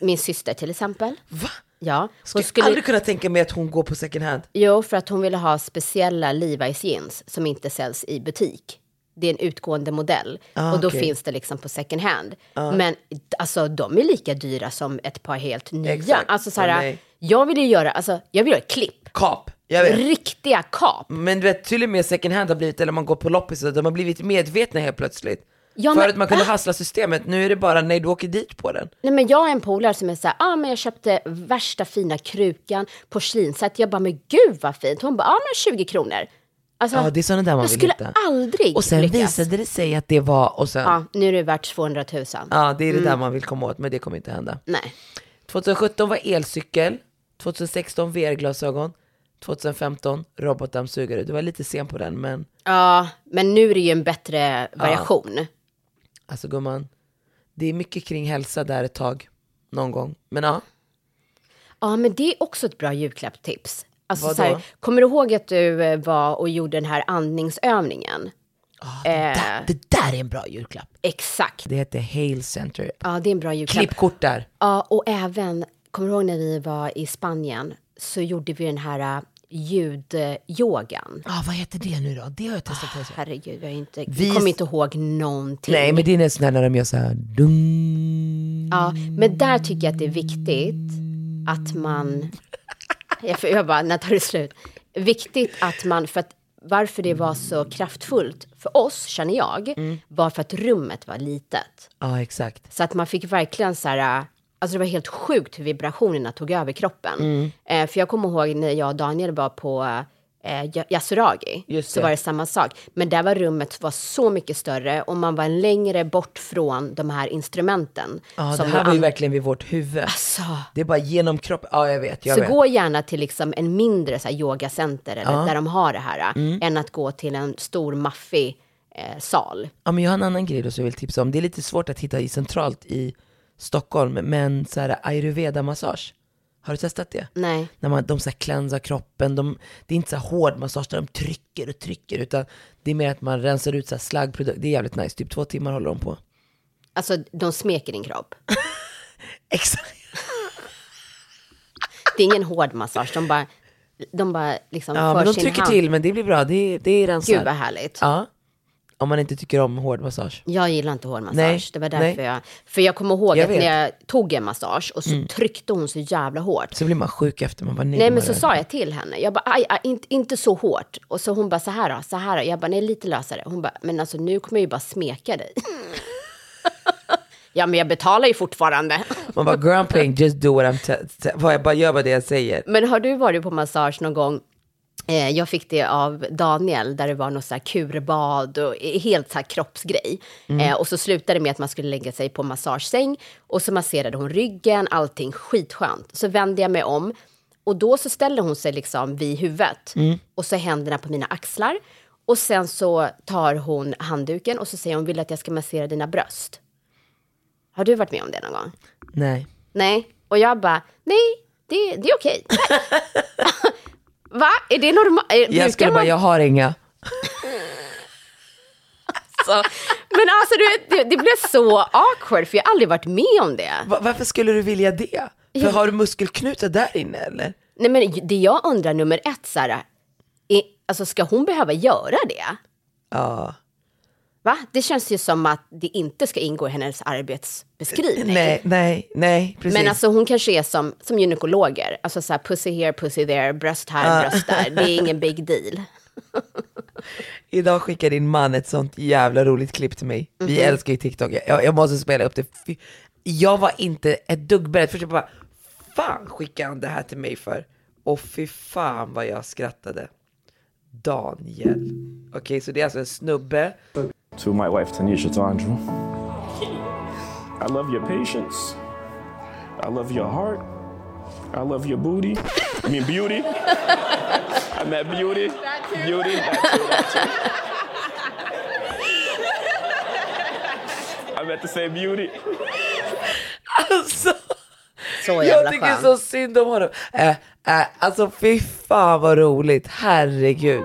[SPEAKER 2] Min syster till exempel.
[SPEAKER 1] Va?
[SPEAKER 2] Ja,
[SPEAKER 1] Skulle, aldrig kunna tänka mig att hon går på second hand.
[SPEAKER 2] Jo, för att hon ville ha speciella Levi's jeans som inte säljs i butik. Det är en utgående modell
[SPEAKER 1] Ah,
[SPEAKER 2] och då
[SPEAKER 1] okej. Ah.
[SPEAKER 2] finns det liksom på second hand. Men alltså, de är lika dyra som ett par helt nya.
[SPEAKER 1] Exakt.
[SPEAKER 2] Alltså, så
[SPEAKER 1] Ja,
[SPEAKER 2] här,
[SPEAKER 1] nej.
[SPEAKER 2] jag vill ju göra, alltså, jag vill göra ett klipp.
[SPEAKER 1] Kap. Jag vet.
[SPEAKER 2] Riktiga kap.
[SPEAKER 1] Men du vet, till och med second hand har blivit, eller man går på loppis, de har blivit medvetna helt plötsligt.
[SPEAKER 2] Ja,
[SPEAKER 1] Förut
[SPEAKER 2] men-
[SPEAKER 1] man kunde
[SPEAKER 2] va?
[SPEAKER 1] hassla systemet, nu är det bara nej du åker dit på den.
[SPEAKER 2] Nej, men jag har en polare som är så här, ah, men jag köpte värsta fina krukan, porslin. Så att jag bara, men gud vad fint. Hon bara, ah, men 20 kronor. Alltså,
[SPEAKER 1] Ja det är sådana där man
[SPEAKER 2] jag
[SPEAKER 1] vill
[SPEAKER 2] skulle
[SPEAKER 1] hitta.
[SPEAKER 2] aldrig
[SPEAKER 1] Och sen
[SPEAKER 2] lyckas.
[SPEAKER 1] visade det sig att det var, och sen, Mm. ja,
[SPEAKER 2] Ja, nu är det värt 200 000.
[SPEAKER 1] det är det där man vill komma åt men det kommer inte hända.
[SPEAKER 2] Nej.
[SPEAKER 1] 2017 var elcykel, 2016 VR-glasögon, 2015 robotdammsugare. Du var lite sen på den men
[SPEAKER 2] Ja, men nu är det ju en bättre variation.
[SPEAKER 1] alltså gumman, det är mycket kring hälsa där ett tag, någon gång. Men ja,
[SPEAKER 2] Ja, men det är också ett bra julklappstips. Alltså,
[SPEAKER 1] Vadå?
[SPEAKER 2] så här, kommer du ihåg att du eh, var och gjorde den här andningsövningen?
[SPEAKER 1] det, där, det där är en bra julklapp.
[SPEAKER 2] Exakt.
[SPEAKER 1] Eh. Det heter Hail Center.
[SPEAKER 2] Ja, det är en bra julklapp.
[SPEAKER 1] Klippkort där.
[SPEAKER 2] Ja, och även, kommer du ihåg när vi var i Spanien så gjorde vi den här eh, ljudyogan.
[SPEAKER 1] Ah, vad heter det nu då? Det har jag testat på.
[SPEAKER 2] Herregud, jag är inte,
[SPEAKER 1] Vi-
[SPEAKER 2] kommer inte ihåg någonting.
[SPEAKER 1] Nej, men det är nästan när de gör så här. Dung.
[SPEAKER 2] Ja, men där tycker jag att det är viktigt att man... Jag, får, jag bara, när tar det slut? Viktigt att man, för att varför det var så kraftfullt för oss, känner jag, var för att rummet var litet.
[SPEAKER 1] Ja, exakt.
[SPEAKER 2] Så att man fick verkligen så här, äh, alltså det var helt sjukt hur vibrationerna tog över kroppen. Eh, för jag kommer ihåg när jag och Daniel var på eh, Ja- Yasuragi,
[SPEAKER 1] Just
[SPEAKER 2] så
[SPEAKER 1] det.
[SPEAKER 2] var det samma sak. Men där var rummet var så mycket större och man var längre bort från de här instrumenten.
[SPEAKER 1] Ja, det
[SPEAKER 2] som
[SPEAKER 1] här
[SPEAKER 2] man
[SPEAKER 1] var ju
[SPEAKER 2] an-
[SPEAKER 1] verkligen vid vårt huvud.
[SPEAKER 2] Alltså,
[SPEAKER 1] Det är bara genom kroppen. Ja, jag vet. Jag
[SPEAKER 2] så
[SPEAKER 1] vet.
[SPEAKER 2] gå gärna till liksom en mindre så här, yogacenter eller, där de har det här, äh,
[SPEAKER 1] Mm.
[SPEAKER 2] än att gå till en stor maffig eh, sal.
[SPEAKER 1] Ja, men jag har en annan grej då som jag vill tipsa om. Det är lite svårt att hitta i centralt i Stockholm, men så här ayurveda-massage. Har du testat det?
[SPEAKER 2] Nej.
[SPEAKER 1] När man, de så här cleansar kroppen, de, det är inte så här hård massage där de trycker och trycker, utan det är mer att man rensar ut så här slaggprodukter. Det är jävligt nice, typ två timmar håller de på.
[SPEAKER 2] Alltså, de smeker din kropp.
[SPEAKER 1] Exakt.
[SPEAKER 2] Det
[SPEAKER 1] (laughs)
[SPEAKER 2] är ingen hård massage, de bara, de bara liksom
[SPEAKER 1] Ja,
[SPEAKER 2] för
[SPEAKER 1] men de
[SPEAKER 2] sin
[SPEAKER 1] trycker
[SPEAKER 2] hand.
[SPEAKER 1] till, men det blir bra. Det, det är rensar.
[SPEAKER 2] Gud vad härligt.
[SPEAKER 1] Ja. Om man inte tycker om hård massage.
[SPEAKER 2] Jag gillar inte hårmassage.
[SPEAKER 1] Nej,
[SPEAKER 2] Det var därför
[SPEAKER 1] nej.
[SPEAKER 2] jag... För jag kommer ihåg
[SPEAKER 1] Jag
[SPEAKER 2] att
[SPEAKER 1] vet. Mm.
[SPEAKER 2] när jag tog en massage och så tryckte hon så jävla hårt.
[SPEAKER 1] Så blir man sjuk efter man bara nej.
[SPEAKER 2] Nej
[SPEAKER 1] man
[SPEAKER 2] men så
[SPEAKER 1] är-
[SPEAKER 2] sa jag till henne, jag bara aj, aj, inte, inte så hårt. Och så hon bara så här då, så här då. Jag bara nej lite lösare. Hon bara men alltså nu kommer jag ju bara smeka dig. (laughs) ja men jag betalar ju fortfarande.
[SPEAKER 1] Man bara girl I'm paying, just do what I'm te- te- vad jag bara gör vad det jag säger.
[SPEAKER 2] Men har du varit på massage någon gång? Eh, jag fick det av Daniel, där det var något så här kurbad och eh, helt så här kroppsgrej. Eh, och så slutade det med att man skulle lägga sig på massagesäng och så masserade hon ryggen, allting skitskönt. Så vände jag mig om och då så ställde hon sig liksom vid huvudet och så händerna på mina axlar. Och sen så tar hon handduken och så säger hon, vill du att jag ska massera dina bröst? Har du varit med om det någon gång?
[SPEAKER 1] Nej.
[SPEAKER 2] Nej. Och jag bara, nej, det, det är okej.
[SPEAKER 1] (laughs)
[SPEAKER 2] Tack. Va? Är det normalt?
[SPEAKER 1] Jag skulle bara, jag har inga.
[SPEAKER 2] Men alltså, du vet, det, det blev så awkward, för jag har aldrig varit med om det.
[SPEAKER 1] Va- varför skulle du vilja det? För har du muskelknutar där inne eller?
[SPEAKER 2] Nej, men det jag undrar nummer ett, så här, är, alltså, ska hon behöva göra det?
[SPEAKER 1] Ja.
[SPEAKER 2] Va? Det känns ju som att det inte ska ingå i hennes arbetsbeskrivning.
[SPEAKER 1] Nej, nej, nej, precis.
[SPEAKER 2] Men alltså hon kanske är som, som gynekologer, alltså så här pussy here, pussy there, bröst här, bröst där. Det är ingen big deal.
[SPEAKER 1] Idag skickar din man ett sånt jävla roligt klipp till mig. Vi
[SPEAKER 2] Mhm.
[SPEAKER 1] älskar ju TikTok. Jag, jag måste spela upp det. Fy- Jag var inte ett dugg beredd. Först jag bara, fan skickade han det här till mig för? Och fy fan vad jag skrattade. Daniel. Okej, så det är alltså en snubbe.
[SPEAKER 5] to my wife Tanisha Tandra. I love your patience. I love your heart. I love your booty. I mean beauty. I meant beauty. Beauty. That too, that too. I meant to say beauty.
[SPEAKER 1] Alltså,
[SPEAKER 2] Så
[SPEAKER 1] jag
[SPEAKER 2] jävla
[SPEAKER 1] tycker
[SPEAKER 2] skönt.
[SPEAKER 1] så synd om honom. Äh, äh, alltså fy fan vad roligt. Herregud.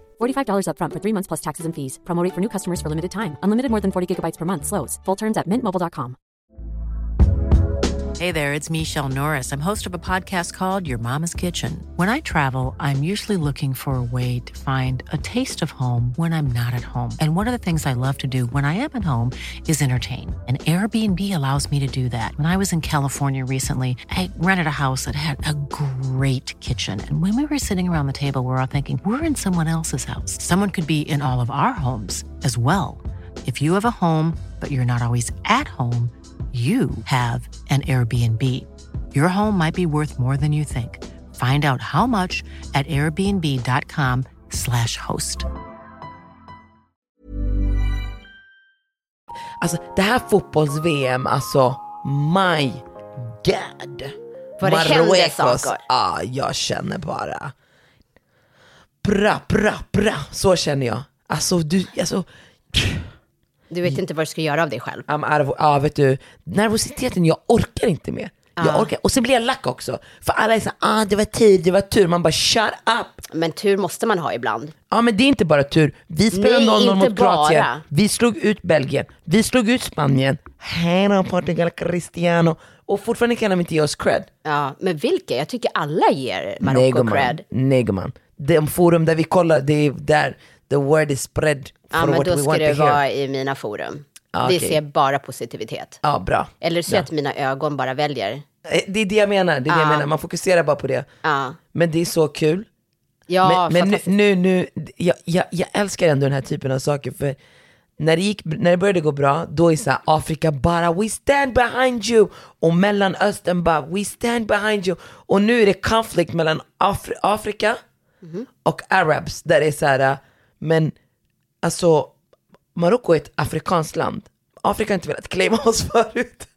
[SPEAKER 6] $45 upfront for three months plus taxes and fees. Promo rate for new customers for limited time. Unlimited more than 40 gigabytes per month. Slows. Full terms at mintmobile.com.
[SPEAKER 7] Hey there, it's Michelle Norris. I'm host of a podcast called Your Mama's Kitchen. When I travel, I'm usually looking for a way to find a taste of home when I'm not at home. And one of the things I love to do when I am at home is entertain. And Airbnb allows me to do that. When I was in California recently, I rented a house that had a great kitchen. And when we were sitting around the table, we're all thinking, we're in someone else's house. Someone could be in all of our homes as well. If you have a home, but you're not always at home, you have an Airbnb. Your home might be worth more than you think. Find out how much at airbnb.com/slash host.
[SPEAKER 1] Alltså det här fotbolls-VM, alltså my god.
[SPEAKER 2] Vad det händer saker.
[SPEAKER 1] Ja, jag känner bara. Bra, bra, bra. Så känner jag. Alltså du, alltså. (laughs)
[SPEAKER 2] Du vet inte vad du ska göra av dig själv.
[SPEAKER 1] I'm out of, ja vet du, nervositeten, jag orkar inte mer.
[SPEAKER 2] Ah.
[SPEAKER 1] Jag orkar, och sen blir jag lack också. För alla är såhär, ah det var tur, det var tur. Man bara shut up.
[SPEAKER 2] Men tur måste man ha ibland.
[SPEAKER 1] Ja men det är inte bara tur. Vi spelade
[SPEAKER 2] Nej,
[SPEAKER 1] 0-0
[SPEAKER 2] inte
[SPEAKER 1] mot Kroatien.
[SPEAKER 2] bara.
[SPEAKER 1] Vi slog ut Belgien. Vi slog ut Spanien. Hej då Portugal, Cristiano. Och fortfarande kan de inte ge oss cred.
[SPEAKER 2] Ja, men vilka? Jag tycker alla ger Marocko
[SPEAKER 1] gumman.
[SPEAKER 2] cred.
[SPEAKER 1] Nej gumman. De forum där vi kollar, det är där the word is spread for
[SPEAKER 2] Ja, men
[SPEAKER 1] what
[SPEAKER 2] då
[SPEAKER 1] we want
[SPEAKER 2] ska
[SPEAKER 1] to
[SPEAKER 2] det
[SPEAKER 1] hear.
[SPEAKER 2] vara i mina forum. Vi
[SPEAKER 1] okej.
[SPEAKER 2] ser bara positivitet.
[SPEAKER 1] Ja bra.
[SPEAKER 2] Eller så att mina ögon bara väljer.
[SPEAKER 1] Eh, Det är det jag menar, det är det jag menar. Man fokuserar bara på det.
[SPEAKER 2] Ja,
[SPEAKER 1] Men det är så kul.
[SPEAKER 2] ja
[SPEAKER 1] men men
[SPEAKER 2] fantastiskt.
[SPEAKER 1] nu, nu, nu jag, jag, jag älskar ändå den här typen av saker för när det, gick, när det började gå bra, då är så här, Afrika bara we stand behind you och Mellanöstern bara we stand behind you och nu är det konflikt mellan Afri- Afrika
[SPEAKER 2] Mhm.
[SPEAKER 1] och Arabs där det är så här, äh, men alltså Marocko är ett afrikanskt land. Afrika har inte velat claima oss förut.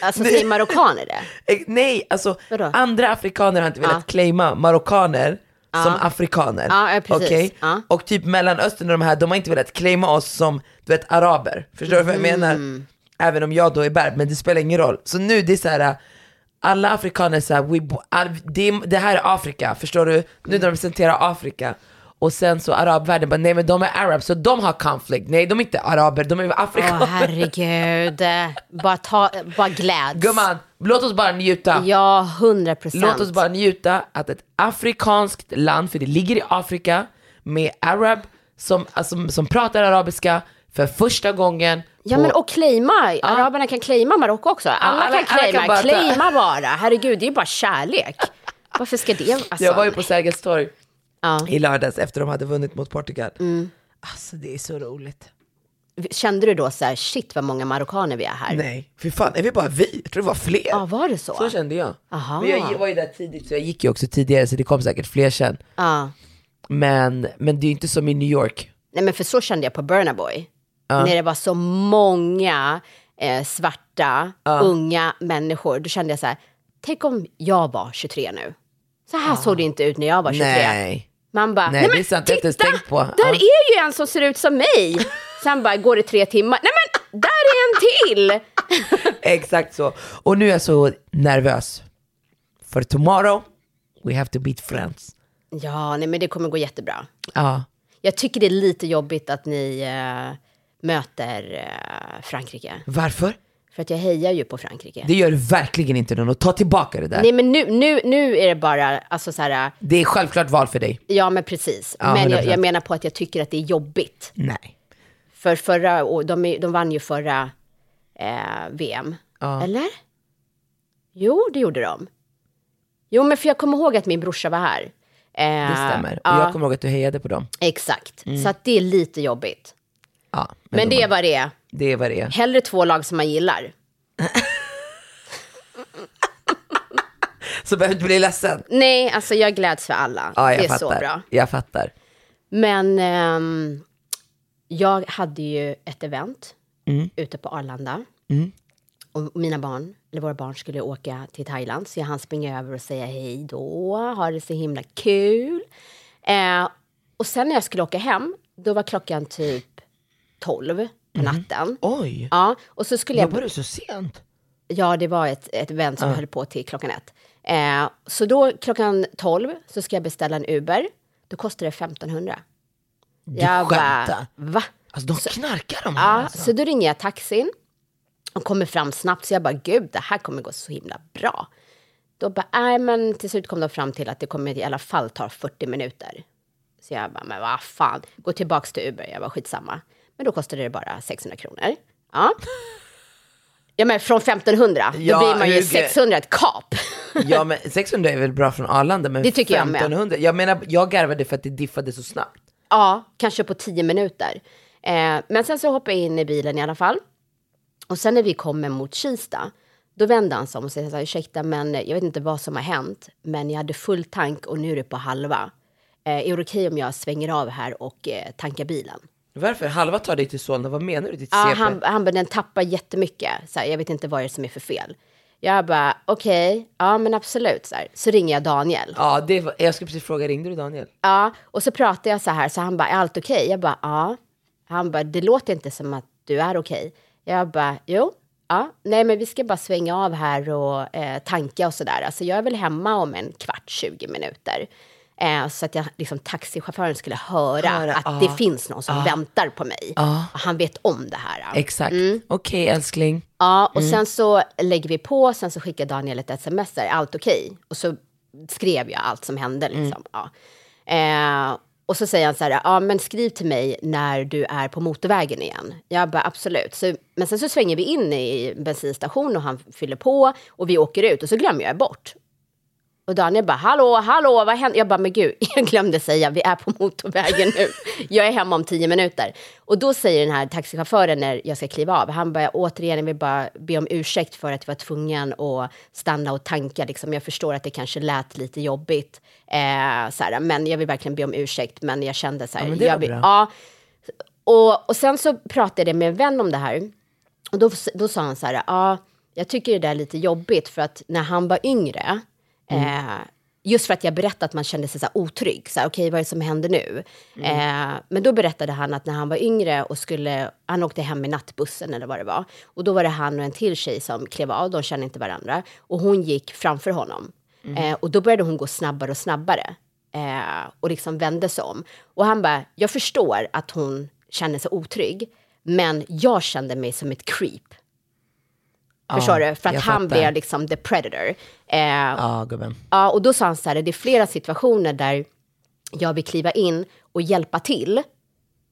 [SPEAKER 2] Alltså säger marockaner
[SPEAKER 1] (laughs)
[SPEAKER 2] det?
[SPEAKER 1] Eh, Nej, alltså
[SPEAKER 2] Vadå?
[SPEAKER 1] andra afrikaner har inte velat
[SPEAKER 2] Ja.
[SPEAKER 1] claima marockaner som afrikaner.
[SPEAKER 2] Ah. Ja, ja, precis. Ah.
[SPEAKER 1] Okej?
[SPEAKER 2] Ja.
[SPEAKER 1] Och typ mellanöstern och de här, de har inte velat claima oss som, du vet, araber. Förstår du vad jag
[SPEAKER 2] Mm.
[SPEAKER 1] menar? Även om jag då är berb, men det spelar ingen roll. Så nu det är så här, äh, alla afrikaner så här, we, bo- all, det, är- det här är Afrika, förstår du? Nu de representerar Afrika. Och sen så arabvärlden bara, nej men de är arab, så de har konflikt. Nej, de är inte araber, de är
[SPEAKER 2] Åh
[SPEAKER 1] afrikaner.
[SPEAKER 2] herregud. Bara, ta, bara gläds.
[SPEAKER 1] Gumman, låt oss bara njuta.
[SPEAKER 2] Ja, hundra procent.
[SPEAKER 1] Låt oss bara njuta att ett afrikanskt land, för det ligger i Afrika, med arab som, alltså, som pratar arabiska för första gången.
[SPEAKER 2] Ja
[SPEAKER 1] på-
[SPEAKER 2] men och claima, araberna kan claima Marocko också. Alla,
[SPEAKER 1] alla-
[SPEAKER 2] kan
[SPEAKER 1] alla
[SPEAKER 2] claima,
[SPEAKER 1] kan bara ta-
[SPEAKER 2] claima bara. Herregud, det är ju bara kärlek. Varför ska det, alltså,
[SPEAKER 1] Jag var ju på Sergels torg
[SPEAKER 2] Ja. Mm.
[SPEAKER 1] i lördags efter de hade vunnit mot Portugal. Alltså det är så roligt.
[SPEAKER 2] alltså, Kände du då så här, shit vad många marockaner vi är här?
[SPEAKER 1] Nej, för fan, är vi bara vi? Jag tror det var fler.
[SPEAKER 2] Ja, var det så?
[SPEAKER 1] Så kände jag.
[SPEAKER 2] Aha.
[SPEAKER 1] Men jag var ju där tidigt så jag gick ju också tidigare så det kom säkert fler sen.
[SPEAKER 2] Ja.
[SPEAKER 1] Men, men det är ju inte som i New York.
[SPEAKER 2] Nej men för så kände jag på Burna Boy. När det var så många eh, svarta, unga människor. Då kände jag så här, tänk om jag var 23 nu. Så här såg det inte ut när jag var 23.
[SPEAKER 1] Nej.
[SPEAKER 2] Man bara,
[SPEAKER 1] Nej,
[SPEAKER 2] nej,
[SPEAKER 1] det är
[SPEAKER 2] men
[SPEAKER 1] sant, jag har inte
[SPEAKER 2] titta,
[SPEAKER 1] ens tänkt på.
[SPEAKER 2] där
[SPEAKER 1] Ja.
[SPEAKER 2] är ju en som ser ut som
[SPEAKER 1] (laughs)
[SPEAKER 2] mig. Sen bara, går det tre timmar, nej men där är en till.
[SPEAKER 1] Exakt så. Och nu är jag så nervös. För tomorrow, we have to beat friends.
[SPEAKER 2] Ja, nej men det kommer gå jättebra.
[SPEAKER 1] Ja,
[SPEAKER 2] Jag tycker det är lite jobbigt att ni eh, möter eh, Frankrike.
[SPEAKER 1] varför?
[SPEAKER 2] För att jag hejar ju på Frankrike.
[SPEAKER 1] Det gör du verkligen inte Nuno. Ta tillbaka det där.
[SPEAKER 2] Nej men nu, nu, nu är det bara, alltså så här,
[SPEAKER 1] Det är självklart val för dig.
[SPEAKER 2] ja men precis.
[SPEAKER 1] Ja,
[SPEAKER 2] men jag,
[SPEAKER 1] 100%.
[SPEAKER 2] jag menar på att jag tycker att det är jobbigt.
[SPEAKER 1] Nej.
[SPEAKER 2] För förra, och de, är- de vann ju förra eh, VM. Eller? Jo, det gjorde de. Jo, men för jag kommer ihåg att min brorsa var här. Eh,
[SPEAKER 1] Det stämmer.
[SPEAKER 2] Ja,
[SPEAKER 1] Och jag kommer ihåg att du hejade på dem.
[SPEAKER 2] Exakt. Så att det är lite jobbigt.
[SPEAKER 1] Ja,
[SPEAKER 2] Men,
[SPEAKER 1] de
[SPEAKER 2] det är
[SPEAKER 1] var...
[SPEAKER 2] vad det är.
[SPEAKER 1] det är vad det är.
[SPEAKER 2] Hellre två lag som man gillar.
[SPEAKER 1] Så behöver du inte bli ledsen.
[SPEAKER 2] Nej, alltså jag gläds för alla.
[SPEAKER 1] Ja, jag
[SPEAKER 2] det är
[SPEAKER 1] fattar.
[SPEAKER 2] så bra.
[SPEAKER 1] Jag fattar.
[SPEAKER 2] Men ehm, jag hade ju ett event ute på Arlanda. Och mina barn, eller våra barn skulle åka till Thailand. Så jag hann springa över och säga hej då. Ha det så himla kul. Eh, och sen när jag skulle åka hem, då var klockan typ 12 på natten.
[SPEAKER 1] Oj,
[SPEAKER 2] Ja, och så skulle jag...
[SPEAKER 1] jobbar du så sent?
[SPEAKER 2] Ja, det var ett, ett event
[SPEAKER 1] Ah.
[SPEAKER 2] som höll på till klockan ett. Eh, så då klockan tolv så ska jag beställa en Uber. Då kostar det 1500.
[SPEAKER 1] Du
[SPEAKER 2] Jag
[SPEAKER 1] skämtar?
[SPEAKER 2] bara, va?
[SPEAKER 1] Alltså de knarkar de här
[SPEAKER 2] Ja,
[SPEAKER 1] alltså.
[SPEAKER 2] så då ringer jag taxin och kommer fram snabbt. Så jag bara, gud, det här kommer gå så himla bra. Då bara, nej, men till slut kom de fram till att det kommer i alla fall ta 40 minuter. Så jag bara, men vad fan, gå tillbaks till Uber, jag var skitsamma. Men då kostade det bara 600 kronor. Ja. Ja men från 1500,
[SPEAKER 1] Ja,
[SPEAKER 2] då blir man ju
[SPEAKER 1] Hugo.
[SPEAKER 2] 600 ett kap.
[SPEAKER 1] Ja men 600 är väl bra från Arlanda men
[SPEAKER 2] Det tycker jag med.
[SPEAKER 1] 1500, jag, menar jag garvade för att det diffade så snabbt.
[SPEAKER 2] Ja, kanske på 10 minuter. Eh, men sen så hoppade jag in i bilen i alla fall. Och sen när vi kommer mot Kista, då vände han sig om och säger så här, ursäkta, men jag vet inte vad som har hänt, men jag hade full tank och nu är det på halva. Eh, är det okej om jag svänger av här och eh, tankar bilen?
[SPEAKER 1] Varför? Halva tar dig till Solna, vad menar du? Ditt
[SPEAKER 2] Ja,
[SPEAKER 1] CP?
[SPEAKER 2] han, han bara, den tappar jättemycket. Så här, jag vet inte vad det är som är för fel. Jag bara, okej, ja men absolut. Så, här. så ringer jag Daniel.
[SPEAKER 1] ja det var, jag skulle precis fråga, ringde du Daniel?
[SPEAKER 2] Ja, och så pratade jag så här, så han bara, är allt okej? Jag bara, ja. Han bara, det låter inte som att du är okej. Jag bara, jo. Ja, nej men vi ska bara svänga av här och eh, tanka och sådär. Alltså jag är väl hemma om en kvart, 20 minuter. Eh, så att jag, liksom, taxichauffören skulle höra,
[SPEAKER 1] Höra,
[SPEAKER 2] att
[SPEAKER 1] ja.
[SPEAKER 2] det finns någon som väntar på mig. Och han vet om det här.
[SPEAKER 1] Exakt.
[SPEAKER 2] Mm.
[SPEAKER 1] Okej älskling.
[SPEAKER 2] Ja, och sen så lägger vi på, sen så skickar Daniel ett sms där, allt okej? Och så skrev jag allt som hände liksom. Ja. Eh, och så säger han så här, ja men skriv till mig när du är på motorvägen igen. Jag bara absolut. Så, men sen så svänger vi in i bensinstation och han fyller på och vi åker ut och så glömmer jag bort. Och Daniel bara, hallå, hallå, vad hände? Jag bara, men gud, (laughs) jag glömde säga, vi är på motorvägen nu. Jag är hemma om tio minuter. Och då säger den här taxichauffören när jag ska kliva av, han bara, återigen, jag vill bara be om ursäkt för att jag var tvungen att stanna och tanka. Liksom. Jag förstår att det kanske lät lite jobbigt, eh, så här, men jag vill verkligen be om ursäkt. Men jag kände så här,
[SPEAKER 1] Ja, men det
[SPEAKER 2] jag
[SPEAKER 1] var
[SPEAKER 2] vill,
[SPEAKER 1] bra.
[SPEAKER 2] ja. Och, och sen så pratade jag med en vän om det här. Och då, då sa han så här, ja, jag tycker det där är lite jobbigt för att när han var yngre, eh, just för att jag berättade att man kände sig så här otrygg, så här, okej vad är det som händer nu? Eh, men då berättade han att när han var yngre och skulle, han åkte hem i nattbussen eller vad det var, och då var det han och en till tjej som klev av, de kände inte varandra, och hon gick framför honom. Eh, och då började hon gå snabbare och snabbare. Eh, och liksom vände sig om. Och han bara, jag förstår att hon känner sig otrygg, men jag kände mig som ett creep. Förstår du? För att
[SPEAKER 1] jag
[SPEAKER 2] han
[SPEAKER 1] fattar.
[SPEAKER 2] blev liksom the predator. Eh,
[SPEAKER 1] Ja gubben.
[SPEAKER 2] Ja, och då sa han så här, det är flera situationer där jag vill kliva in och hjälpa till,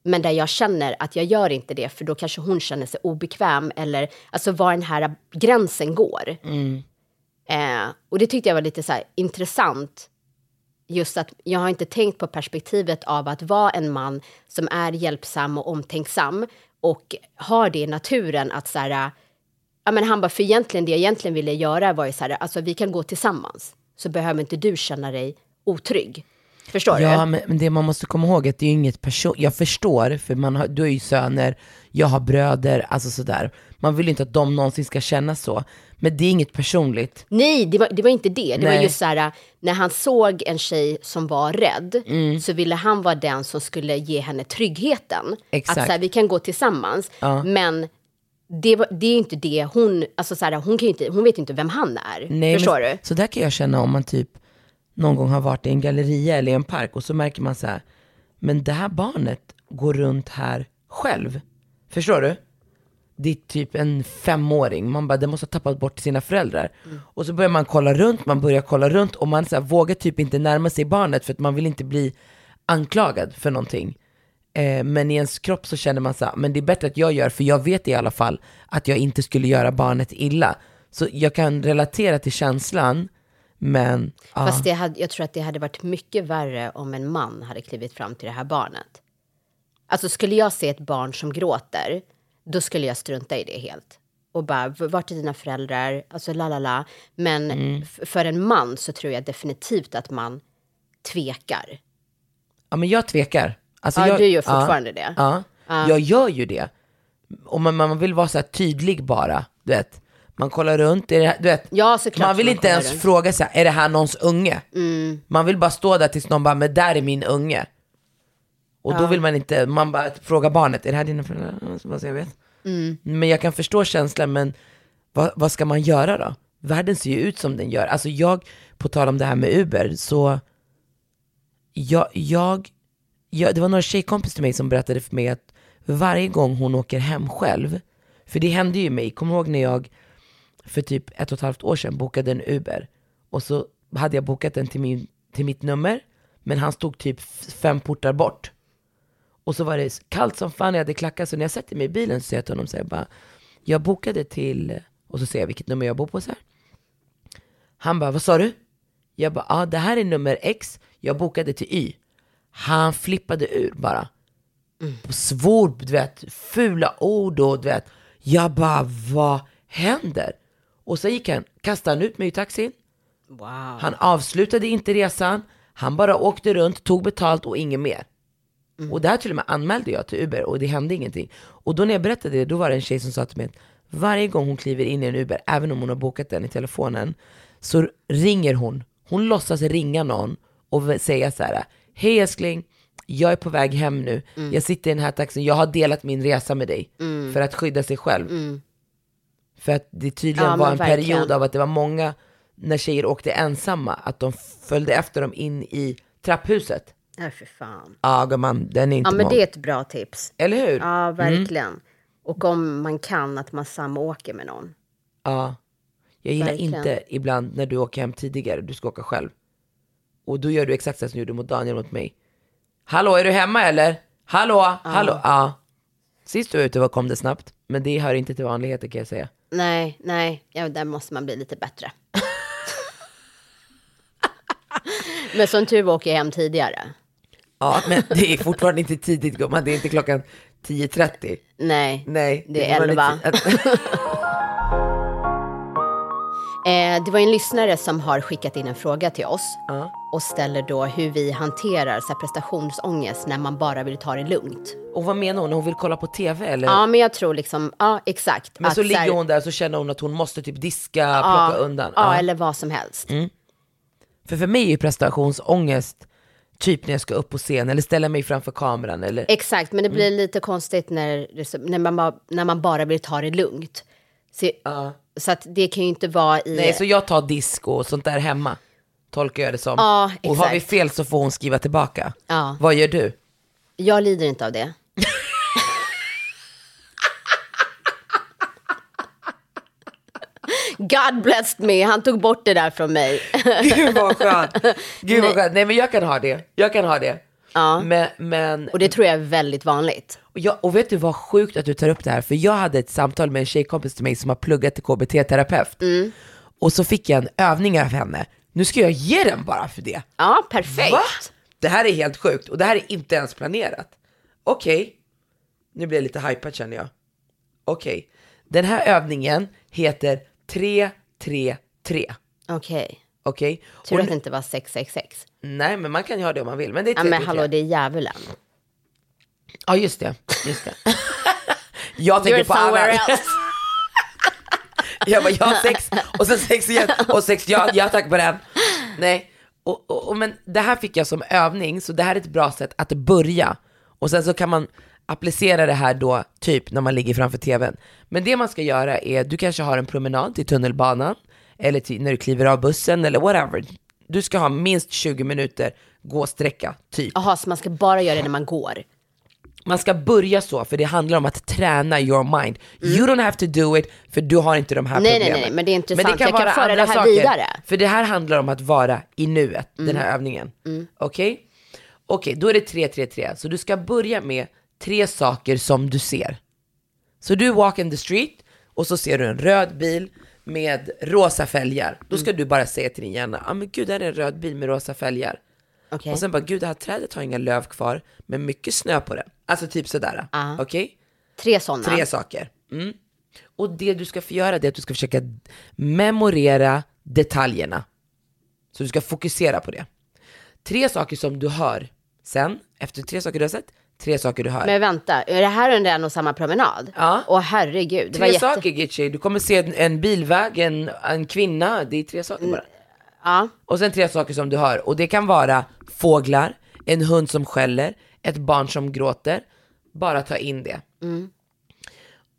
[SPEAKER 2] men där jag känner att jag gör inte det, för då kanske hon känner sig obekväm, eller alltså var den här gränsen går. Eh, och det tyckte jag var lite så här intressant, just att jag har inte tänkt på perspektivet av att vara en man som är hjälpsam och omtänksam, och har det i naturen att så här, Ja, men han bara, för egentligen det jag egentligen ville göra var ju så här, alltså vi kan gå tillsammans, så behöver inte du känna dig otrygg. Förstår
[SPEAKER 1] Ja
[SPEAKER 2] du?
[SPEAKER 1] men men det man måste komma ihåg är att det är ju inget person, jag förstår för man har, du har ju söner, jag har bröder, alltså sådär. Man vill ju inte att de någonsin ska känna så. Men det är inget personligt.
[SPEAKER 2] Nej, det var, det var inte det. Det var
[SPEAKER 1] Nej.
[SPEAKER 2] just så här, när han såg en tjej som var rädd,
[SPEAKER 1] Mm.
[SPEAKER 2] så ville han vara den som skulle ge henne tryggheten.
[SPEAKER 1] Exakt.
[SPEAKER 2] Att så här, vi kan gå tillsammans, men det, var, det är inte det hon, alltså så här, hon, kan ju inte, hon vet ju inte vem han är.
[SPEAKER 1] Nej,
[SPEAKER 2] förstår
[SPEAKER 1] men,
[SPEAKER 2] du?
[SPEAKER 1] Så där kan jag känna om man typ någon gång har varit i en galleria eller i en park och så märker man så här, men det här barnet går runt här själv. Förstår du? Det är typ en femåring, man bara, den måste ha tappat bort sina föräldrar.
[SPEAKER 2] Mm.
[SPEAKER 1] Och så börjar man kolla runt, man börjar kolla runt och man så här, vågar typ inte närma sig barnet för att man vill inte bli anklagad för någonting. Eh, men i ens kropp så känner man så här, men det är bättre att jag gör för jag vet i alla fall att jag inte skulle göra barnet illa. Så jag kan relatera till känslan, men ja.
[SPEAKER 2] Fast det hade, jag tror att det hade varit mycket värre om en man hade klivit fram till det här barnet. Alltså skulle jag se ett barn som gråter, då skulle jag strunta i det helt. Och bara, "V- vart är dina föräldrar? Alltså la la la. Men
[SPEAKER 1] Mm.
[SPEAKER 2] f- för en man så tror jag definitivt att man tvekar.
[SPEAKER 1] ja, men jag tvekar. Alltså,
[SPEAKER 2] Ja,
[SPEAKER 1] jag,
[SPEAKER 2] du gör fortfarande det.
[SPEAKER 1] Ja, jag gör ju det. Och man, man vill vara så här tydlig bara, du vet. Man kollar runt, är det här, du vet.
[SPEAKER 2] Ja, såklart
[SPEAKER 1] man vill
[SPEAKER 2] man
[SPEAKER 1] inte
[SPEAKER 2] kollar
[SPEAKER 1] ens
[SPEAKER 2] runt. Mm.
[SPEAKER 1] fråga så här, är det här någons unge? Man vill bara stå där tills någon bara, men där är min unge. Och då vill man inte, man
[SPEAKER 2] Mm.
[SPEAKER 1] bara frågar barnet, är det här dina föräldrar? Så bara, så jag vet. Men jag kan förstå känslan, men vad, vad ska man göra då? Världen ser ju ut som den gör. Alltså jag, på tal om det här med Uber, så jag, jag, jag det var några tjejkompis till mig som berättade för mig att varje gång hon åker hem själv, för det hände ju mig, kom ihåg när jag för typ ett och ett halvt år sedan bokade en Uber och så hade jag bokat den till, min, till mitt nummer, men han stod typ f- fem portar bort. Och så var det kallt som fan, jag hade klackar. Så när jag sätter mig i bilen så säger jag till honom så här, bara, jag bokade till, och så säger jag vilket nummer jag bor på så här. Han bara, vad sa du? Jag bara, ja ah, det här är nummer X, jag bokade till Y. Han flippade ur bara. Svor, du vet, fula ord och du vet. Jag bara, vad händer? Och så gick han, kastade han ut mig i taxin.
[SPEAKER 2] Wow.
[SPEAKER 1] Han avslutade inte resan, han bara åkte runt, tog betalt och inget mer. Och det här till och med anmälde jag till Uber och det hände ingenting. Och då när jag berättade det, då var det en tjej som sa till mig att varje gång hon kliver in i en Uber, även om hon har bokat den i telefonen, så ringer hon. Hon låtsas ringa någon och v- säga så här, hej älskling, jag är på väg hem nu,
[SPEAKER 2] Mm.
[SPEAKER 1] jag sitter i den här taxin, jag har delat min resa med dig för att skydda sig själv. För att det tydligen
[SPEAKER 2] Mm.
[SPEAKER 1] var
[SPEAKER 2] Ja, men
[SPEAKER 1] en
[SPEAKER 2] verkligen.
[SPEAKER 1] period av att det var många, när tjejer åkte ensamma, att de följde efter dem in i trapphuset.
[SPEAKER 2] Nej, för fan.
[SPEAKER 1] Ja gumman, den är inte
[SPEAKER 2] Ja, men
[SPEAKER 1] mång.
[SPEAKER 2] det är ett bra tips.
[SPEAKER 1] Eller hur?
[SPEAKER 2] Ja, verkligen. Och om man kan, att man samåker med någon.
[SPEAKER 1] Ja. Jag gillar
[SPEAKER 2] Verkligen.
[SPEAKER 1] inte ibland när du åker hem tidigare, du ska åka själv. Och då gör du exakt så som du gjorde mot Daniel mot mig. Hallå, är du hemma eller? Hallå, hallå, ja. Sist du var ute var kom det snabbt, men det hör inte till vanligheter kan jag säga.
[SPEAKER 2] Nej, nej, ja, där måste man bli
[SPEAKER 1] (laughs)
[SPEAKER 2] lite bättre. men som tur var åker jag hem tidigare.
[SPEAKER 1] Ja, men det är fortfarande inte tidigt gumman, det är inte klockan 10.30.
[SPEAKER 2] Nej,
[SPEAKER 1] Nej,
[SPEAKER 2] det
[SPEAKER 1] var
[SPEAKER 2] är
[SPEAKER 1] lite-
[SPEAKER 2] elva. Eh, det var ju en lyssnare som har skickat in en fråga till oss och ställer då hur vi hanterar så här, prestationsångest när man bara vill ta det lugnt.
[SPEAKER 1] Och vad menar hon? Hon vill kolla på TV eller?
[SPEAKER 2] Ja, men jag tror liksom, ja exakt.
[SPEAKER 1] men så
[SPEAKER 2] här-
[SPEAKER 1] ligger hon där och så känner hon att hon måste typ diska,
[SPEAKER 2] ja,
[SPEAKER 1] plocka undan.
[SPEAKER 2] Ja,
[SPEAKER 1] Ja. Mm.
[SPEAKER 2] eller vad som helst.
[SPEAKER 1] För för mig är ju prestationsångest typ när jag ska upp på scen eller ställa mig framför kameran eller
[SPEAKER 2] Exakt, men det blir
[SPEAKER 1] Mm.
[SPEAKER 2] lite konstigt när, det så- när, man, bara- när man bara vill ta det lugnt. Så, så att det kan ju inte vara i...
[SPEAKER 1] Nej, så jag tar disco och sånt där hemma. Tolkar jag det som.
[SPEAKER 2] Ja,
[SPEAKER 1] och har vi
[SPEAKER 2] exakt.
[SPEAKER 1] fel så får hon skriva tillbaka.
[SPEAKER 2] Ja.
[SPEAKER 1] Vad gör
[SPEAKER 2] (laughs)
[SPEAKER 1] du?
[SPEAKER 2] Jag lider inte av det. God blessed me, han tog bort det där från mig.
[SPEAKER 1] Gud vad skönt. Gud vad skönt. Nej men jag kan ha det. Jag kan ha det.
[SPEAKER 2] Ja.
[SPEAKER 1] Men, men
[SPEAKER 2] Och det tror jag är väldigt vanligt.
[SPEAKER 1] och, jag, och vet du vad sjukt att du tar upp det här? För jag hade ett samtal med en tjejkompis till mig som har pluggat till KBT-terapeut.
[SPEAKER 2] Mm.
[SPEAKER 1] Och så fick jag en övning av henne. Nu ska jag ge den bara för det.
[SPEAKER 2] Ja, perfekt.
[SPEAKER 1] Va? Det här är helt sjukt och det här är inte ens planerat. Okej, nu blir jag lite hypad känner jag. Okej, den här övningen heter 333.
[SPEAKER 2] Okej,
[SPEAKER 1] Okej?
[SPEAKER 2] tur
[SPEAKER 1] Och
[SPEAKER 2] att det
[SPEAKER 1] nu-
[SPEAKER 2] inte var 666.
[SPEAKER 1] Nej, men man kan ju ha det om man vill. Men det är typ
[SPEAKER 2] Ja,
[SPEAKER 1] 333.
[SPEAKER 2] men hallå, det är djävulen.
[SPEAKER 1] Ja, just det. Just det. (laughs) jag tänker
[SPEAKER 2] You're
[SPEAKER 1] på annat. (laughs)
[SPEAKER 2] somewhere else.
[SPEAKER 1] Jag bara, jag har sex och sen sex igen och sex, ja, ja tack på den. Nej, och, och, och, men det här fick jag som övning, så det här är ett bra sätt att börja. Och sen så kan man applicera det här då, typ när man ligger framför tvn. Men det man ska göra är, du kanske har en promenad till tunnelbanan, eller till, när du kliver av bussen eller whatever. Du ska ha minst 20 minuter gå-sträcka, typ.
[SPEAKER 2] Jaha, så man ska bara göra det när man går.
[SPEAKER 1] Man ska börja så, för det handlar om att träna your mind. You don't have to do it, för du har inte de här
[SPEAKER 2] Mm. Nej, nej,
[SPEAKER 1] problemen.
[SPEAKER 2] nej, men det är intressant. Jag kan
[SPEAKER 1] vara
[SPEAKER 2] föra
[SPEAKER 1] andra
[SPEAKER 2] det här
[SPEAKER 1] saker.
[SPEAKER 2] vidare. Mm.
[SPEAKER 1] För det här handlar om att vara i nuet, den här övningen. Okej? Okej, då är det 3-3-3. Så du ska börja med tre saker som du ser. Så du walk in the street och så ser du en röd bil med rosa fälgar. Då
[SPEAKER 2] Mm.
[SPEAKER 1] ska du bara säga till din hjärna, ja ah, men gud, där är en röd bil med rosa fälgar.
[SPEAKER 2] Okej.
[SPEAKER 1] Och sen bara, gud det här trädet har inga löv kvar, men mycket snö på det. Alltså typ sådär.
[SPEAKER 2] Ja.
[SPEAKER 1] Okej?
[SPEAKER 2] Tre sådana.
[SPEAKER 1] Tre saker. Mm. Och det du ska få göra det är att du ska försöka memorera detaljerna. Så du ska fokusera på det. Tre saker som du hör. Sen, efter tre saker du har sett, tre saker du hör.
[SPEAKER 2] Men vänta, är det här under en och samma promenad?
[SPEAKER 1] Ja.
[SPEAKER 2] Åh herregud. Det var
[SPEAKER 1] tre
[SPEAKER 2] jätte...
[SPEAKER 1] saker Gitchy, du kommer se en, en bilväg, en, en kvinna, det är tre saker bara.
[SPEAKER 2] Mm. Ja.
[SPEAKER 1] Och sen tre saker som du hör. Och det kan vara fåglar, en hund som skäller, ett barn som gråter.
[SPEAKER 2] Mm.
[SPEAKER 1] Bara ta in det.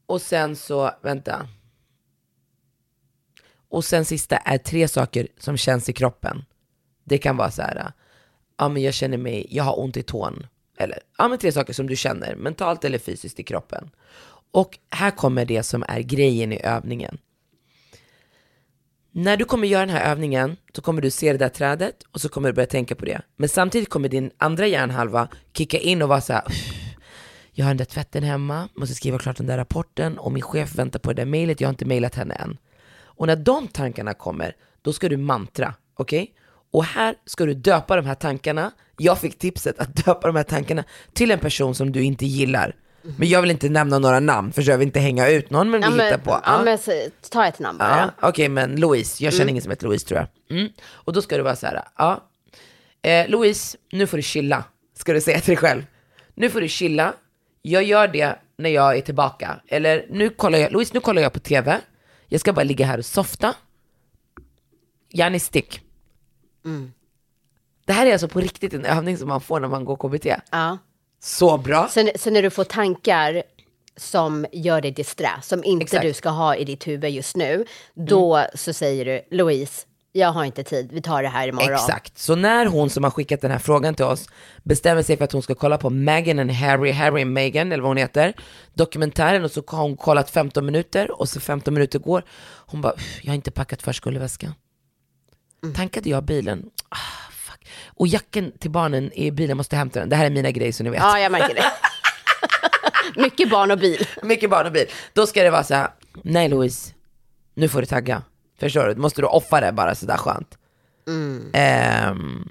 [SPEAKER 1] Och sen så, vänta. Och sen sista är tre saker som känns i kroppen. Det kan vara så här, ja men jag känner mig, jag har ont i tån. Eller, ja men tre saker som du känner, mentalt eller fysiskt i kroppen. Och här kommer det som är grejen i övningen. När du kommer göra den här övningen så kommer du se det där trädet och så kommer du börja tänka på det. Men samtidigt kommer din andra hjärnhalva kicka in och vara så här, jag har den där tvätten hemma, måste skriva klart den där rapporten och min chef väntar på det där mejlet, jag har inte mejlat henne än. Och när de tankarna kommer, då ska du mantra, okej? Och här ska du döpa de här tankarna. Jag fick tipset att (laughs) döpa de här tankarna till en person som du inte gillar. Men jag vill inte nämna några namn, för jag vill inte hänga ut någon, men vi hittar på.
[SPEAKER 2] ja,
[SPEAKER 1] Ja.
[SPEAKER 2] men så, ta ett namn bara.
[SPEAKER 1] Ja, Mm. Okej, men Louise. Jag känner ingen som heter Louise tror jag. Mm. Och då ska du vara så här, ja. Eh, Louise, nu får du chilla. Ska du säga till dig själv. Nu får du chilla. Jag gör det när jag är tillbaka. Eller nu kollar jag, Louise, nu kollar jag på tv. Jag ska bara ligga här och softa. Gärna i stick. Mm. Det här är alltså på riktigt en övning som man får när man går KBT.
[SPEAKER 2] Ja.
[SPEAKER 1] Så bra.
[SPEAKER 2] Sen, sen när du får tankar som gör dig disträ, som inte
[SPEAKER 1] Exakt. Mm.
[SPEAKER 2] du ska ha i ditt huvud just nu, då så säger du Louise, jag har inte tid, vi tar det här imorgon.
[SPEAKER 1] Exakt, så när hon som har skickat den här frågan till oss bestämmer sig för att hon ska kolla på Meghan and Harry, Harry and Meghan eller vad hon heter, dokumentären och så har hon kollat 15 minuter och så 15 minuter går, hon bara, "Uff, jag har inte packat förskoleväskan. Tankade jag bilen? Ah, fuck. Och jacken till barnen i bilen måste jag hämta den. Det här är mina grejer så ni vet.
[SPEAKER 2] Ja, jag märker det. Mycket barn och bil.
[SPEAKER 1] (laughs) Mycket barn och bil. Då ska det vara så här, nej Louise, nu får du tagga. Förstår du? Då måste du offa det bara sådär skönt. Ehm,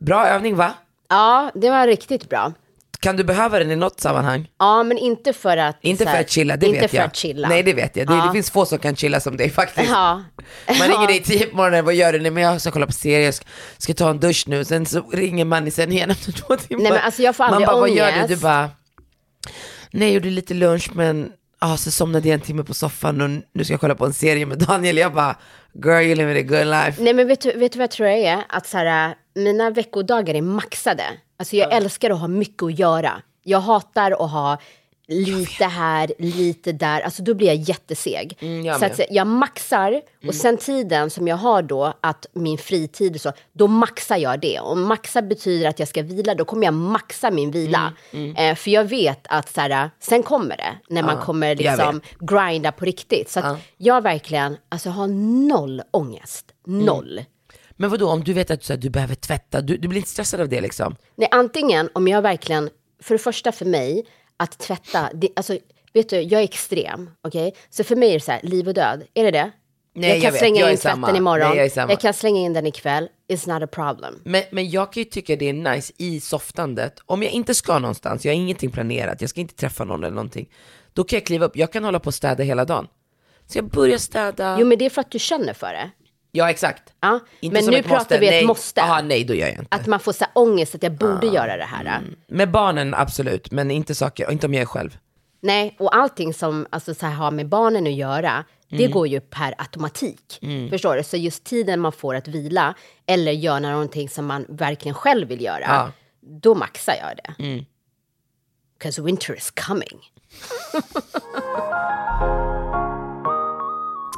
[SPEAKER 1] bra övning va?
[SPEAKER 2] Ja, det var riktigt bra.
[SPEAKER 1] Kan du behöva den i något sammanhang?
[SPEAKER 2] Ja, men inte för att...
[SPEAKER 1] Inte
[SPEAKER 2] så här-
[SPEAKER 1] för att chilla, det
[SPEAKER 2] inte
[SPEAKER 1] vet
[SPEAKER 2] för
[SPEAKER 1] jag.
[SPEAKER 2] Att chilla.
[SPEAKER 1] Nej, det vet jag. Det,
[SPEAKER 2] Ja.
[SPEAKER 1] det finns få som kan chilla som dig
[SPEAKER 2] (laughs)
[SPEAKER 1] faktiskt.
[SPEAKER 2] Ja.
[SPEAKER 1] Man ringer dig tio på morgonen, vad gör du? Nej, men jag ska kolla på serier, jag ska, ska ta en dusch nu. Sen så ringer man sen igen efter två timmar.
[SPEAKER 2] Nej, men alltså, jag får
[SPEAKER 1] man
[SPEAKER 2] aldrig
[SPEAKER 1] bara, vad gör du?
[SPEAKER 2] ångest.
[SPEAKER 1] Du bara, nej, jag gjorde lite lunch men ah, så somnade jag en timme på soffan och nu ska jag kolla på en serie med Daniel. Jag bara, girl you living a good life.
[SPEAKER 2] Nej, men vet du, vet du vad jag tror jag är? Att så här, äh, mina veckodagar är maxade. Alltså jag älskar att ha mycket att göra. Jag hatar att ha lite här, lite där. Alltså då blir jag jätteseg.
[SPEAKER 1] Mm, jag
[SPEAKER 2] så att,
[SPEAKER 1] med.
[SPEAKER 2] så- jag maxar och sen tiden som jag har då, att min fritid och så, då maxar jag det. Och maxa betyder att jag ska vila, då kommer jag maxa min vila. Eh, för jag vet att så här, äh, sen kommer det, när man kommer
[SPEAKER 1] jag
[SPEAKER 2] liksom grinda på riktigt. Så att jag verkligen, alltså har noll ångest. Noll.
[SPEAKER 1] Men vadå, om du vet att du, så här, du behöver tvätta, du, du blir inte stressad av det liksom?
[SPEAKER 2] Nej, antingen om jag verkligen, för det första för mig, att tvätta, det, alltså vet du, jag är extrem, okej? Så för mig är det så här, liv och död, är det det?
[SPEAKER 1] Nej,
[SPEAKER 2] jag kan
[SPEAKER 1] jag vet.
[SPEAKER 2] slänga
[SPEAKER 1] Jag är
[SPEAKER 2] in tvätten
[SPEAKER 1] samma.
[SPEAKER 2] imorgon,
[SPEAKER 1] Nej, jag är samma.
[SPEAKER 2] kan slänga in den ikväll, it's not a problem.
[SPEAKER 1] Men, men jag kan ju tycka det är nice i softandet, om jag inte ska någonstans, jag har ingenting planerat, jag ska inte träffa någon eller någonting, då kan jag kliva upp, jag kan hålla på och städa hela dagen. Så jag börjar städa,
[SPEAKER 2] Jo, men det är för att du känner för det.
[SPEAKER 1] ja exakt.
[SPEAKER 2] Ja.
[SPEAKER 1] Inte
[SPEAKER 2] Men
[SPEAKER 1] som
[SPEAKER 2] nu
[SPEAKER 1] ett
[SPEAKER 2] pratar
[SPEAKER 1] måste.
[SPEAKER 2] vi ett
[SPEAKER 1] nej.
[SPEAKER 2] måste.
[SPEAKER 1] Aha, Ah. nej då gör jag inte.
[SPEAKER 2] Att man får så här ångest att jag borde göra det här.
[SPEAKER 1] Med barnen absolut, men inte saker, inte om jag är själv.
[SPEAKER 2] Nej, och allting som alltså, så här, har med barnen att göra, det går ju per automatik. Förstår du? Så just tiden man får att vila eller göra någonting som man verkligen själv vill göra,
[SPEAKER 1] Ja.
[SPEAKER 2] då maxar jag det. Mm. Cause winter is coming. (laughs)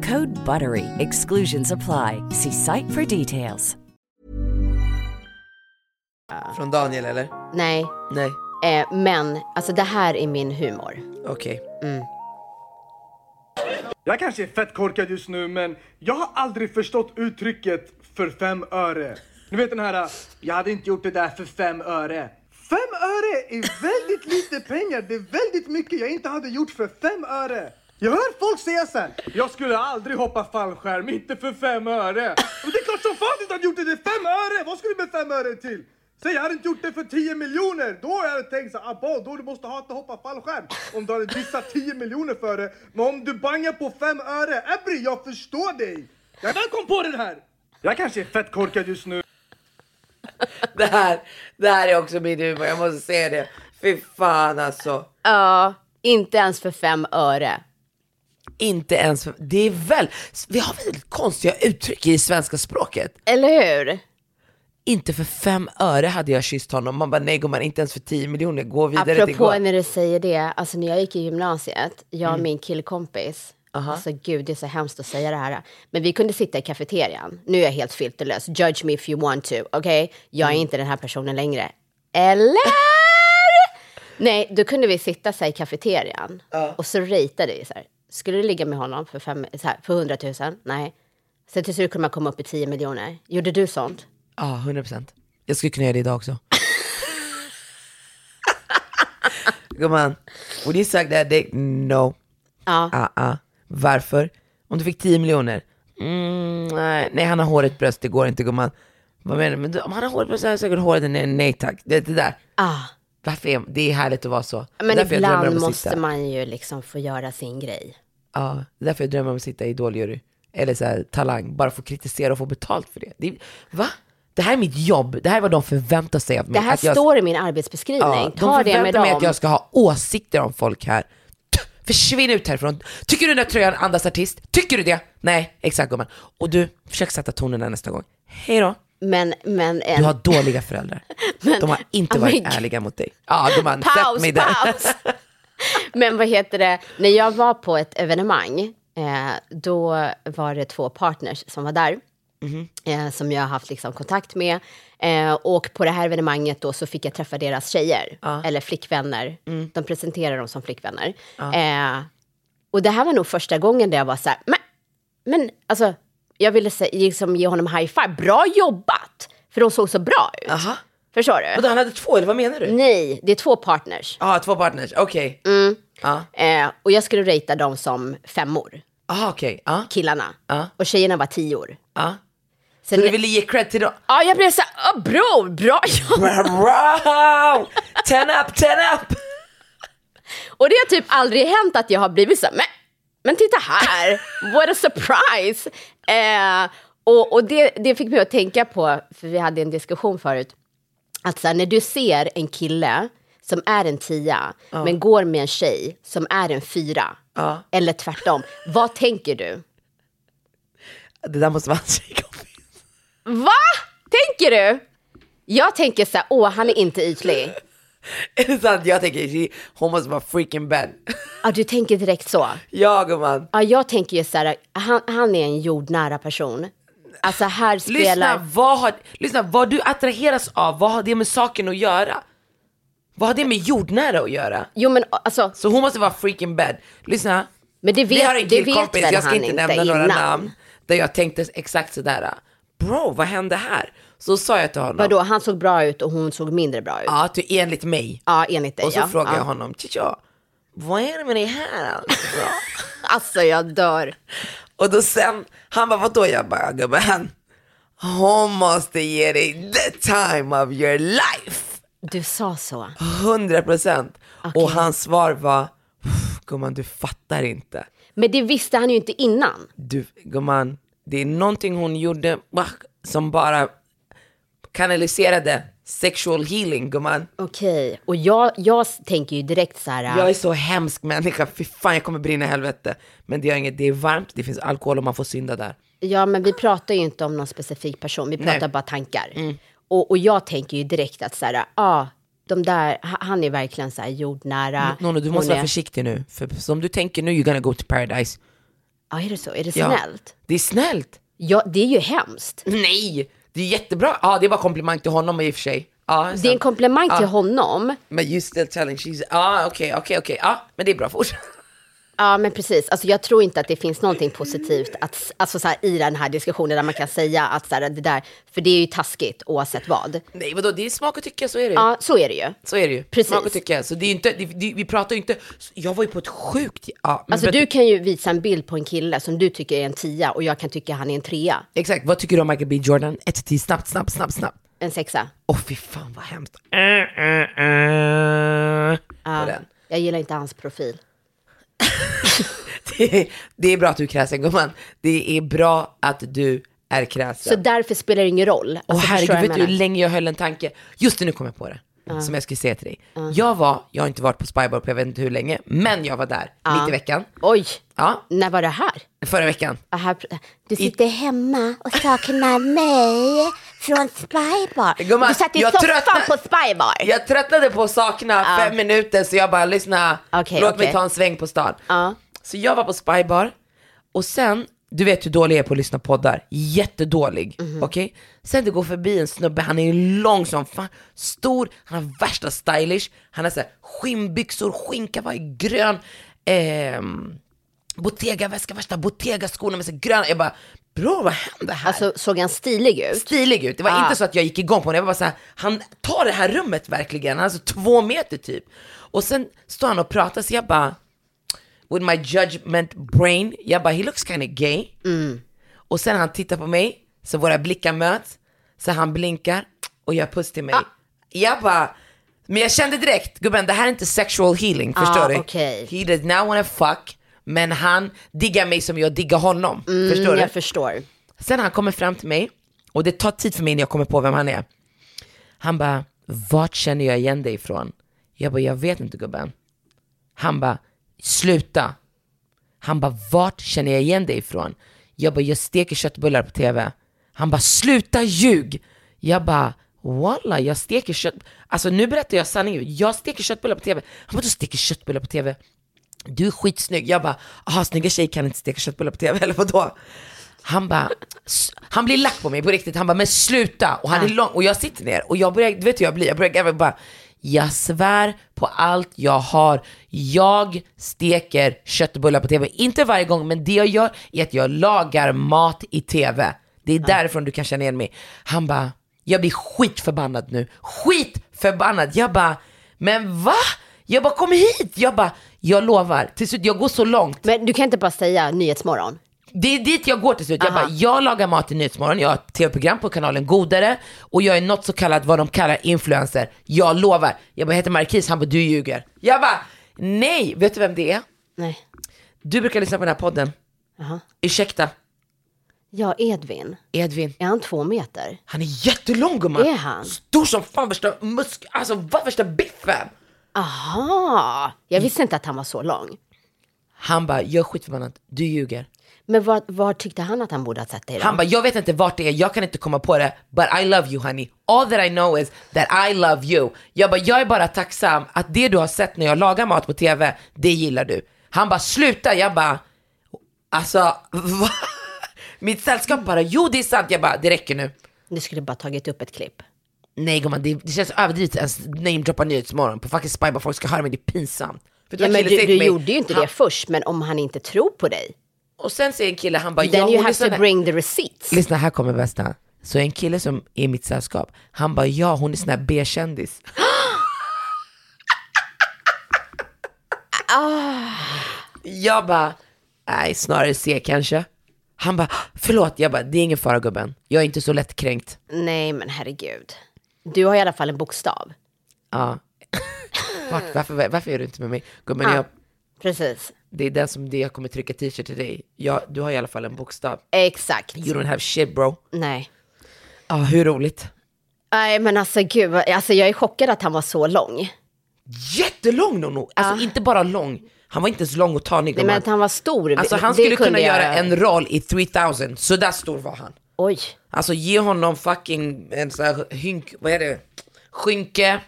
[SPEAKER 8] Code BUTTERY. Exclusions apply. See site for details.
[SPEAKER 1] Från Daniel eller?
[SPEAKER 2] nej,
[SPEAKER 1] Nej.
[SPEAKER 2] Eh, men alltså det här är min humor.
[SPEAKER 1] Okej. (laughs)
[SPEAKER 9] Jag kanske är fett korkad just nu men jag har aldrig förstått uttrycket för fem öre. Ni vet den här, jag hade inte gjort det där för fem öre. Fem öre är väldigt lite pengar, det är väldigt mycket jag inte hade gjort för fem öre. Jag hör folk säga så här, jag skulle aldrig hoppa fallskärm, inte för fem öre. Och det är klart som fan du inte hade gjort det, det är fem öre! Vad ska du med fem öre till? Säg jag hade inte gjort det för 10 miljoner! Då hade jag tänkt såhär, abba, då du måste hata hoppa fallskärm. Om du hade dissat 10 miljoner för det. Men om du bangar på 5 öre, Ebri jag förstår dig! Jag väl kom på den här! Jag kanske är fett korkad just nu.
[SPEAKER 1] Det, här, det här är också min humor, jag måste säga det. Fy fan alltså.
[SPEAKER 2] Ja, inte ens för fem öre.
[SPEAKER 1] Inte ens för, det är väl, vi har väldigt konstiga uttryck i svenska språket.
[SPEAKER 2] Eller hur?
[SPEAKER 1] Inte för fem öre hade jag kysst honom. Man bara nej gumman, inte ens för tio miljoner, gå vidare till
[SPEAKER 2] Apropå
[SPEAKER 1] gå.
[SPEAKER 2] när du säger det, alltså när jag gick i gymnasiet, jag och
[SPEAKER 1] Mm.
[SPEAKER 2] min killkompis, alltså gud det är så hemskt att säga det här, men vi kunde sitta i kafeterian, nu är jag helt filterlös, judge me if you want to, okej? Jag är
[SPEAKER 1] Mm.
[SPEAKER 2] inte den här personen längre. Eller? Nej, då kunde vi sitta så här, i kafeterian och så ratade vi så här. Skulle du ligga med honom för, fem, så här, för 100 000? Nej. Sen till slut kunde man komma upp i 10 miljoner. Gjorde du sånt?
[SPEAKER 1] Ja, 100 procent. Jag skulle kunna göra det idag
[SPEAKER 2] (laughs)
[SPEAKER 1] också. Gumman, would you suck that dick? No.
[SPEAKER 2] Ja.
[SPEAKER 1] Ah, ah. Varför? Om du fick 10 miljoner? Mm, nej, nej, han har håret bröst, det går inte gumman. Vad menar du? Men du, om han har håret bröst så har jag säkert håret. Nej, nej tack. Det, det där.
[SPEAKER 2] Ah.
[SPEAKER 1] Varför är, det är härligt att vara så. Det är
[SPEAKER 2] Men
[SPEAKER 1] därför jag drömmer
[SPEAKER 2] ibland
[SPEAKER 1] om att
[SPEAKER 2] måste
[SPEAKER 1] sitta-
[SPEAKER 2] man ju liksom få göra sin grej.
[SPEAKER 1] Ja, det är därför jag drömmer om att sitta i idoljury. Eller så här, talang, bara få kritisera och få betalt för det. det är, va? Det här är mitt jobb, det här är vad de förväntar sig av mig.
[SPEAKER 2] Det här
[SPEAKER 1] Att jag-
[SPEAKER 2] står i min arbetsbeskrivning.
[SPEAKER 1] ja,
[SPEAKER 2] Ta
[SPEAKER 1] de
[SPEAKER 2] det
[SPEAKER 1] förväntar
[SPEAKER 2] med
[SPEAKER 1] mig
[SPEAKER 2] dem.
[SPEAKER 1] att jag ska ha åsikter om folk här. T- Försvinn ut härifrån. Tycker du den där tröjan andas artist? Tycker du det? Nej, exakt gumman. Och du, försök sätta tonen där nästa gång. Hej då.
[SPEAKER 2] Men, men en...
[SPEAKER 1] Du har dåliga
[SPEAKER 2] (laughs)
[SPEAKER 1] föräldrar. de har inte
[SPEAKER 2] Oh my
[SPEAKER 1] varit
[SPEAKER 2] God.
[SPEAKER 1] ärliga mot dig. Ja, gumman, sätt
[SPEAKER 2] paus,
[SPEAKER 1] mig där.
[SPEAKER 2] paus! men vad heter det, när jag var på ett evenemang, eh, då var det två partners som var där.
[SPEAKER 1] Mhm.
[SPEAKER 2] Eh, som jag har haft liksom, kontakt med. Eh, och på det här evenemanget då så fick jag träffa deras tjejer, eller flickvänner.
[SPEAKER 1] Mm.
[SPEAKER 2] De presenterar dem som flickvänner. Eh, och det här var nog första gången där jag var så här, men, men alltså, jag ville se, liksom, ge honom high five. Bra jobbat! För de såg så bra ut.
[SPEAKER 1] Aha.
[SPEAKER 2] Förstår
[SPEAKER 1] (laughs)
[SPEAKER 2] du?
[SPEAKER 1] Vadå, han hade två, eller vad menar du?
[SPEAKER 2] Nej, det är två partners.
[SPEAKER 1] Ja, två partners, okej.
[SPEAKER 2] Mm.
[SPEAKER 1] Okay. Ja,
[SPEAKER 2] Eh, och jag skulle ratea dem som femmor,
[SPEAKER 1] ah, okej. Ja,
[SPEAKER 2] killarna.
[SPEAKER 1] Ja.
[SPEAKER 2] Och tjejerna var tior.
[SPEAKER 1] ja.
[SPEAKER 2] Sen,
[SPEAKER 1] Så du ville ge cred till dem?
[SPEAKER 2] Ja, jag blev så här, "Åh, bror, bra jobbat.
[SPEAKER 1] Wow! Ten up, ten up!
[SPEAKER 2] Och det har typ aldrig hänt att jag har blivit så här, men, men titta här, what a surprise. Eh, och och det, det fick mig att tänka på, för vi hade en diskussion förut, att så här, när du ser en kille som är en tia, men går med en tjej som är en fyra, eller tvärtom, vad tänker du?
[SPEAKER 1] Det där måste vara hans tjejkompis.
[SPEAKER 2] Va? Tänker du? Jag tänker så här, åh, han är inte ytlig.
[SPEAKER 1] Är det sant? Jag tänker, hon måste vara freaking bad.
[SPEAKER 2] Ja, du tänker direkt så.
[SPEAKER 1] Ja gumman.
[SPEAKER 2] Ja, jag tänker ju så här, han, han är en jordnära person. Alltså här spelar...
[SPEAKER 1] Lyssna vad, har, lyssna, vad du attraheras av, vad har det med saken att göra? Vad har det med jordnära att göra?
[SPEAKER 2] Jo, men alltså,
[SPEAKER 1] Så hon måste vara freaking bad. Lyssna,
[SPEAKER 2] men det
[SPEAKER 1] vi har en
[SPEAKER 2] vet, det vet
[SPEAKER 1] killkompis,
[SPEAKER 2] väl
[SPEAKER 1] jag ska
[SPEAKER 2] han
[SPEAKER 1] inte nämna några
[SPEAKER 2] innan.
[SPEAKER 1] namn, där jag tänkte exakt sådär, bro vad hände här? Så sa jag till honom,
[SPEAKER 2] Vadå, han såg bra ut och hon såg mindre bra ut? Ja,
[SPEAKER 1] ja till, enligt mig.
[SPEAKER 2] enligt dig.
[SPEAKER 1] Och så
[SPEAKER 2] ja.
[SPEAKER 1] frågade
[SPEAKER 2] ja.
[SPEAKER 1] jag honom, tja vad är det med det här?
[SPEAKER 2] (laughs)
[SPEAKER 1] alltså?"
[SPEAKER 2] Alltså, jag dör.
[SPEAKER 1] Och då sen, han bara vadå? Jag bara gubben, hon måste ge dig the time of your life.
[SPEAKER 2] Du sa så.
[SPEAKER 1] 100 procent. Och hans svar var, "Pff, gumman du fattar inte.
[SPEAKER 2] Men det visste han ju inte innan.
[SPEAKER 1] Du, gumman, det är någonting hon gjorde bah, som bara kanaliserade sexual healing gumman.
[SPEAKER 2] Okej, och jag, jag tänker ju direkt så här...
[SPEAKER 1] Jag är så hemsk människa, fy fan jag kommer brinna i helvete. Men det gör inget, det är varmt, det finns alkohol och man får synda där.
[SPEAKER 2] Ja, men vi pratar ju inte om någon specifik person, vi pratar
[SPEAKER 1] Nej. Mm.
[SPEAKER 2] bara tankar. Och, och jag tänker ju direkt att så här, ja, ah, de där, ha- han är verkligen så här jordnära.
[SPEAKER 1] Nono, du
[SPEAKER 2] Hon
[SPEAKER 1] måste vara
[SPEAKER 2] är-
[SPEAKER 1] försiktig nu, för som du tänker nu, you're gonna go to paradise.
[SPEAKER 2] Ja, är det så? Är det
[SPEAKER 1] Ja.
[SPEAKER 2] snällt?
[SPEAKER 1] Det är snällt.
[SPEAKER 2] Ja, det är ju hemskt.
[SPEAKER 1] Nej, det är jättebra. Ja, det är bara komplimang till honom i och för sig. Ja,
[SPEAKER 2] det är en
[SPEAKER 1] sant.
[SPEAKER 2] komplimang till
[SPEAKER 1] Ja.
[SPEAKER 2] honom.
[SPEAKER 1] Men you still telling she's... Ah, okej, okej, okej. Ja, men det är bra. Fortsätt. (laughs)
[SPEAKER 2] Ja, men precis. Alltså, jag tror inte att det finns någonting positivt att, alltså, så här, i den här diskussionen där man kan säga att så här, det där, för det är ju taskigt oavsett vad.
[SPEAKER 1] Nej, vadå? Det är smak och tycke, så är det ju.
[SPEAKER 2] Ja, så är det ju.
[SPEAKER 1] Så är det ju.
[SPEAKER 2] Precis.
[SPEAKER 1] Smak och tycke. Så det är ju inte, det, det, vi pratar ju inte... Jag var ju på ett sjukt... Ja, men
[SPEAKER 2] Alltså
[SPEAKER 1] vet-
[SPEAKER 2] du kan ju visa en bild på en kille som du tycker är en tia och jag kan tycka han är en trea,
[SPEAKER 1] Exakt, vad tycker du om Michael B Jordan? Ett till snabbt, snabbt, snabbt, snabbt.
[SPEAKER 2] en sexa.
[SPEAKER 1] Åh fy fan vad hemskt. Äh, äh, äh. På den. (laughs)
[SPEAKER 2] Jag gillar inte hans profil.
[SPEAKER 1] Det, är- det är bra att du är kräsen gumman. Det är bra att du är
[SPEAKER 2] Så
[SPEAKER 1] kräsen.
[SPEAKER 2] därför spelar det ingen roll.
[SPEAKER 1] Åh
[SPEAKER 2] Alltså,
[SPEAKER 1] herregud,
[SPEAKER 2] förstår jag
[SPEAKER 1] vet du hur
[SPEAKER 2] menar?
[SPEAKER 1] länge jag höll en tanke? Just det, nu kom jag på det. Som jag skulle säga till dig. Jag var, jag har inte varit på Spybar på jag vet inte hur länge, men jag var där mitt i veckan.
[SPEAKER 2] Oj,
[SPEAKER 1] Ja,
[SPEAKER 2] när var det här?
[SPEAKER 1] förra veckan.
[SPEAKER 2] Ja, här du sitter hemma och saknar mig från Spybar.
[SPEAKER 1] Gumman,
[SPEAKER 2] Du satt i
[SPEAKER 1] jag
[SPEAKER 2] soffan
[SPEAKER 1] tröttnar-
[SPEAKER 2] på Spybar.
[SPEAKER 1] Jag tröttnade på att sakna fem minuter så jag bara lyssna,
[SPEAKER 2] Okej,
[SPEAKER 1] låt mig
[SPEAKER 2] okej.
[SPEAKER 1] ta en sväng på stan.
[SPEAKER 2] Ja.
[SPEAKER 1] Så jag var på Spybar och sen, du vet hur dålig jag är på att lyssna på poddar, jättedålig. Okej? Sen det går förbi en snubbe, han är lång som fan, stor, han har värsta stylish, han har så här skinnbyxor, skinka, var i grön, ehm, Bottega-väska, värsta Bottega-skorna med så här gröna. Jag bara, bro vad händer här?
[SPEAKER 2] Alltså såg han stilig ut?
[SPEAKER 1] stilig ut. Det var
[SPEAKER 2] Ah.
[SPEAKER 1] inte så att jag gick igång på honom. Jag var bara så här, han tar det här rummet verkligen. Han är så två meter typ. Och sen står han och pratar så jag bara, with my judgment brain, jag bara he looks kind of gay.
[SPEAKER 2] Mm.
[SPEAKER 1] Och sen han tittar på mig, så våra blickar möts, så han blinkar och jag puss till mig.
[SPEAKER 2] Ah.
[SPEAKER 1] Jag bara, men jag kände direkt, gubben det här är inte sexual healing, förstår du?
[SPEAKER 2] Ah, okej.
[SPEAKER 1] He does not wanna fuck, men han diggar mig som jag diggar honom. förstår du?
[SPEAKER 2] Mm, Jag förstår.
[SPEAKER 1] Sen han kommer fram till mig och det tar tid för mig innan jag kommer på vem han är. Han bara, vart känner jag igen dig ifrån? Jag bara, jag vet inte gubben. Han bara, sluta. Han bara, vart känner jag igen dig ifrån? Jag bara, jag steker köttbullar på tv. Han bara, sluta ljug! Jag bara, walla, jag steker kött... Alltså nu berättar jag sanningen. Jag steker köttbullar på tv. Han bara, du steker köttbullar på tv? Du är skitsnygg. Jag bara, aha, snygga tjejer kan inte steka köttbullar på tv, (laughs) eller vadå? Han bara, s- han blir lack på mig på riktigt. Han bara, men sluta! Och han är lång och jag sitter ner och jag börjar, du vet hur jag blir, jag börjar garva och bara, jag svär på allt jag har. Jag steker köttbullar på tv. Inte varje gång, men det jag gör är att jag lagar mat i tv. Det är därifrån du kan känna igen mig. Han bara, jag blir skitförbannad nu. Skitförbannad! Jag bara, men va? Jag bara, kom hit! Jag bara, jag lovar. Till slut, jag går så långt.
[SPEAKER 2] Men du kan inte bara säga Nyhetsmorgon.
[SPEAKER 1] Det är dit jag går till slut. Jag, bara, jag lagar mat i Nyhetsmorgon, jag har ett tv-program på kanalen Godare och jag är något så kallat vad de kallar influencer. Jag lovar. Jag bara, jag heter Markis, han bara, du ljuger. Jag bara, nej, vet du vem det är?
[SPEAKER 2] Nej.
[SPEAKER 1] Du brukar lyssna på den här podden.
[SPEAKER 2] Jaha.
[SPEAKER 1] Ursäkta,
[SPEAKER 2] Ja, Edvin.
[SPEAKER 1] Edvin.
[SPEAKER 2] Är han två meter?
[SPEAKER 1] Han är jättelång gumman.
[SPEAKER 2] Är han?
[SPEAKER 1] Stor som fan, värsta musk... Alltså vad värsta biffen.
[SPEAKER 2] Aha! Jag visste inte att han var så lång.
[SPEAKER 1] Han bara, jag är skitförbannad, du ljuger.
[SPEAKER 2] Men var, var tyckte han att han borde ha sett dig då?
[SPEAKER 1] Han bara, jag vet inte vart det är, jag kan inte komma på det, but I love you honey. All that I know is that I love you. Jag bara, jag är bara tacksam att det du har sett när jag lagar mat på tv, det gillar du. Han bara, sluta! Jag bara, alltså, va? Mitt sällskap bara, jo det är sant. Jag bara, det räcker nu.
[SPEAKER 2] Du skulle bara tagit upp ett klipp.
[SPEAKER 1] Nej gumman, det, det känns överdrivet att ens namedroppa Nyhetsmorgon på fucking Spy, bara folk ska höra mig, det är pinsamt. Vet
[SPEAKER 2] Ja,
[SPEAKER 1] vad
[SPEAKER 2] men
[SPEAKER 1] killen säger
[SPEAKER 2] du,
[SPEAKER 1] till
[SPEAKER 2] du
[SPEAKER 1] mig?
[SPEAKER 2] gjorde ju inte
[SPEAKER 1] han,
[SPEAKER 2] det först, men om han inte tror på dig.
[SPEAKER 1] Och sen säger en kille, han bara, ja,
[SPEAKER 2] Then you
[SPEAKER 1] hon
[SPEAKER 2] have
[SPEAKER 1] lyssnar-
[SPEAKER 2] to bring the receipts.
[SPEAKER 1] Lyssna, här kommer bästa. Så en kille som är i mitt sällskap, han bara ja hon är sån här B-kändis. Jag bara, nej snarare C kanske. Han bara, förlåt, jag bara, det är ingen fara gubben. Jag är inte så lättkränkt.
[SPEAKER 2] Nej, men herregud. Du har i alla fall en bokstav.
[SPEAKER 1] Ja. Vart, varför, varför är du inte med mig? Gubben, jag,
[SPEAKER 2] Precis.
[SPEAKER 1] det är den som det jag kommer trycka t-shirt till dig. Jag, du har i alla fall en bokstav.
[SPEAKER 2] Exakt.
[SPEAKER 1] You don't have shit bro.
[SPEAKER 2] Nej.
[SPEAKER 1] Ja, hur roligt.
[SPEAKER 2] Nej, men alltså gud, vad- alltså, jag är chockad att han var så lång.
[SPEAKER 1] Jättelång Nono! Alltså inte bara lång, han var inte ens lång och tanig.
[SPEAKER 2] Nej, men
[SPEAKER 1] gumman.
[SPEAKER 2] att han var stor.
[SPEAKER 1] Alltså han
[SPEAKER 2] det
[SPEAKER 1] skulle
[SPEAKER 2] kunde
[SPEAKER 1] kunna
[SPEAKER 2] jag-
[SPEAKER 1] göra en roll i 3000, så där stor var han.
[SPEAKER 2] Oj.
[SPEAKER 1] Alltså ge honom fucking en sån här hynk, vad är det? (laughs) Skynke,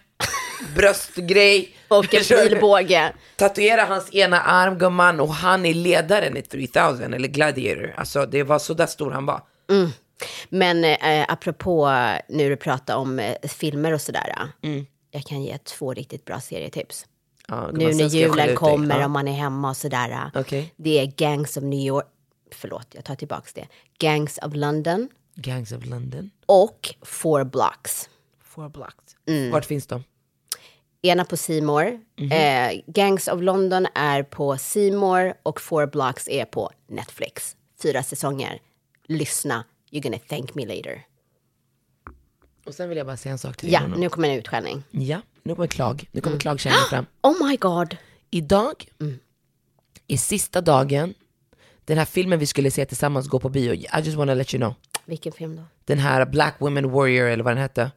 [SPEAKER 1] bröstgrej.
[SPEAKER 2] Och en
[SPEAKER 1] Förstår du?
[SPEAKER 2] pilbåge.
[SPEAKER 1] Tatuera hans ena arm gumman och han är ledaren i 3000 eller Gladiator. Alltså det var så där stor han var.
[SPEAKER 2] Men eh, apropå nu du pratar om eh, filmer och sådär.
[SPEAKER 1] Mm.
[SPEAKER 2] Jag kan ge två riktigt bra serietips.
[SPEAKER 1] Ja, gumman,
[SPEAKER 2] nu när
[SPEAKER 1] sen ska jag skälla ut
[SPEAKER 2] julen
[SPEAKER 1] dig.
[SPEAKER 2] kommer
[SPEAKER 1] Ja.
[SPEAKER 2] och man är hemma och sådär.
[SPEAKER 1] Okej.
[SPEAKER 2] Det är Gangs of New York. Förlåt, jag tar tillbaka det. Gangs of London
[SPEAKER 1] Gangs of London.
[SPEAKER 2] och Four Blocks.
[SPEAKER 1] Four blocks. Vart finns de?
[SPEAKER 2] Ena på Seymour.
[SPEAKER 1] Mhm.
[SPEAKER 2] eh, Gangs of London är på Seymour och Four Blocks är på Netflix. Fyra säsonger. Lyssna, you're gonna thank me later.
[SPEAKER 1] Och sen vill jag bara säga en sak till
[SPEAKER 2] Ja,
[SPEAKER 1] dig, Bruno.
[SPEAKER 2] nu kommer en utskällning.
[SPEAKER 1] ja, nu kommer klag. Nu kommer klagkärran (gasps) fram.
[SPEAKER 2] (gasps) Oh my god!
[SPEAKER 1] Idag
[SPEAKER 2] Mm.
[SPEAKER 1] är sista dagen den här filmen vi skulle se tillsammans gå på bio. I just wanna let you know.
[SPEAKER 2] Vilken film då?
[SPEAKER 1] Den här Black Women Warrior eller vad den hette.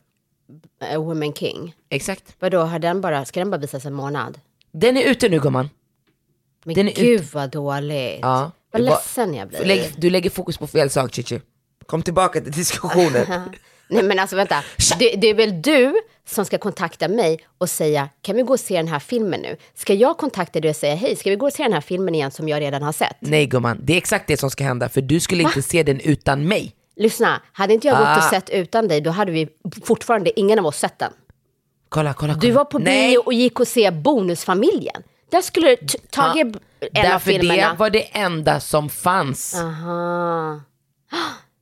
[SPEAKER 2] Eh, Woman King.
[SPEAKER 1] Exakt.
[SPEAKER 2] Vadå, har den bara, ska den bara visas en månad?
[SPEAKER 1] Den är ute nu gumman.
[SPEAKER 2] Men
[SPEAKER 1] Den är
[SPEAKER 2] gud vad dåligt.
[SPEAKER 1] Ja.
[SPEAKER 2] Vad
[SPEAKER 1] Det var-
[SPEAKER 2] ledsen jag blir.
[SPEAKER 1] Lägg, du lägger fokus på fel sak Chichi. Kom tillbaka till diskussionen.
[SPEAKER 2] Nej men alltså vänta, det, det är väl du som ska kontakta mig och säga, kan vi gå och se den här filmen nu? Ska jag kontakta dig och säga, hej, ska vi gå och se den här filmen igen som jag redan har sett?
[SPEAKER 1] (laughs) Nej gumman, det är exakt det som ska hända för du skulle inte se den utan mig.
[SPEAKER 2] Lyssna, hade inte jag gått och
[SPEAKER 1] Ah.
[SPEAKER 2] sett utan dig, då hade vi fortfarande ingen av oss sett den.
[SPEAKER 1] Kolla, kolla, kolla.
[SPEAKER 2] Du var på
[SPEAKER 1] Nej.
[SPEAKER 2] bio och gick och se Bonusfamiljen. Där skulle du t-
[SPEAKER 1] Ja,
[SPEAKER 2] tagit en av
[SPEAKER 1] Därför
[SPEAKER 2] filmerna. Ah.
[SPEAKER 1] det var det enda som fanns.
[SPEAKER 2] Aha. (gasps)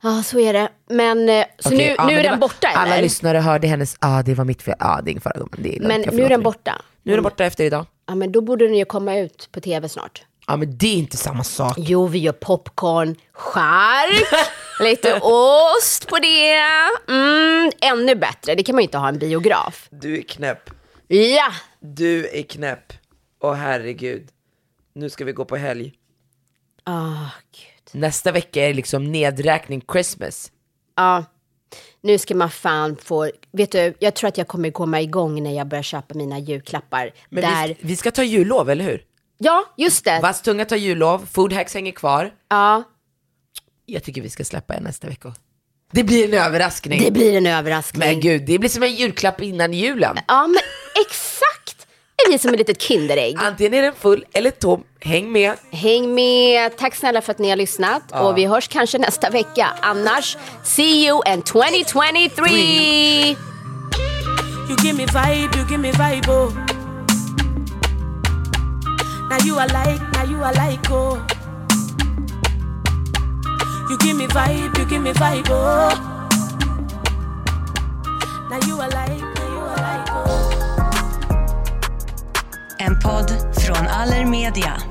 [SPEAKER 2] Ja, så är det. Men eh, så
[SPEAKER 1] Okej,
[SPEAKER 2] nu,
[SPEAKER 1] ja,
[SPEAKER 2] nu
[SPEAKER 1] men det
[SPEAKER 2] är den
[SPEAKER 1] var-
[SPEAKER 2] borta eller?
[SPEAKER 1] Alla lyssnare hörde hennes, ja ah, det var mitt fel, ja ah, det är ingen fara gumman, det är lugnt,
[SPEAKER 2] men
[SPEAKER 1] jag
[SPEAKER 2] nu
[SPEAKER 1] förlåter
[SPEAKER 2] är den
[SPEAKER 1] dig.
[SPEAKER 2] borta.
[SPEAKER 1] Nu är den borta efter idag.
[SPEAKER 2] Ja, men då borde den ju komma ut på tv snart.
[SPEAKER 1] Ja men det är inte samma sak.
[SPEAKER 2] Jo, vi gör popcorn,
[SPEAKER 1] (laughs)
[SPEAKER 2] chark, lite ost på det. Mm, ännu bättre, det kan man ju inte ha en biograf.
[SPEAKER 1] Du är knäpp,
[SPEAKER 2] Ja,
[SPEAKER 1] du är knäpp. Åh herregud, nu ska vi gå på helg.
[SPEAKER 2] Åh, gud.
[SPEAKER 1] Nästa vecka är det liksom nedräkning Christmas.
[SPEAKER 2] Ja, nu ska man fan få... Vet du, jag tror att jag kommer komma igång när jag börjar köpa mina julklappar.
[SPEAKER 1] Men
[SPEAKER 2] Där...
[SPEAKER 1] vi, vi ska ta jullov, eller hur?
[SPEAKER 2] Ja, just det.
[SPEAKER 1] Vass tunga tar jullov, food hacks hänger kvar.
[SPEAKER 2] Ja,
[SPEAKER 1] Jag tycker vi ska släppa en nästa vecka. Det blir en överraskning.
[SPEAKER 2] det blir en överraskning.
[SPEAKER 1] Men gud, det blir som en julklapp innan julen.
[SPEAKER 2] Ja, men exakt. Det blir som ett litet Kinderägg.
[SPEAKER 1] Antingen är den full eller tom. Häng med.
[SPEAKER 2] Häng med. Tack snälla för att ni har lyssnat. Och vi hörs kanske nästa vecka. Annars, see you in 2023!
[SPEAKER 3] You give me vibe, you give me vibe, oh. Now you are like, now you are like, oh. You give me vibe, you give me vibe, oh. Now you are like, now you are like, oh.
[SPEAKER 10] En podd från Allermedia.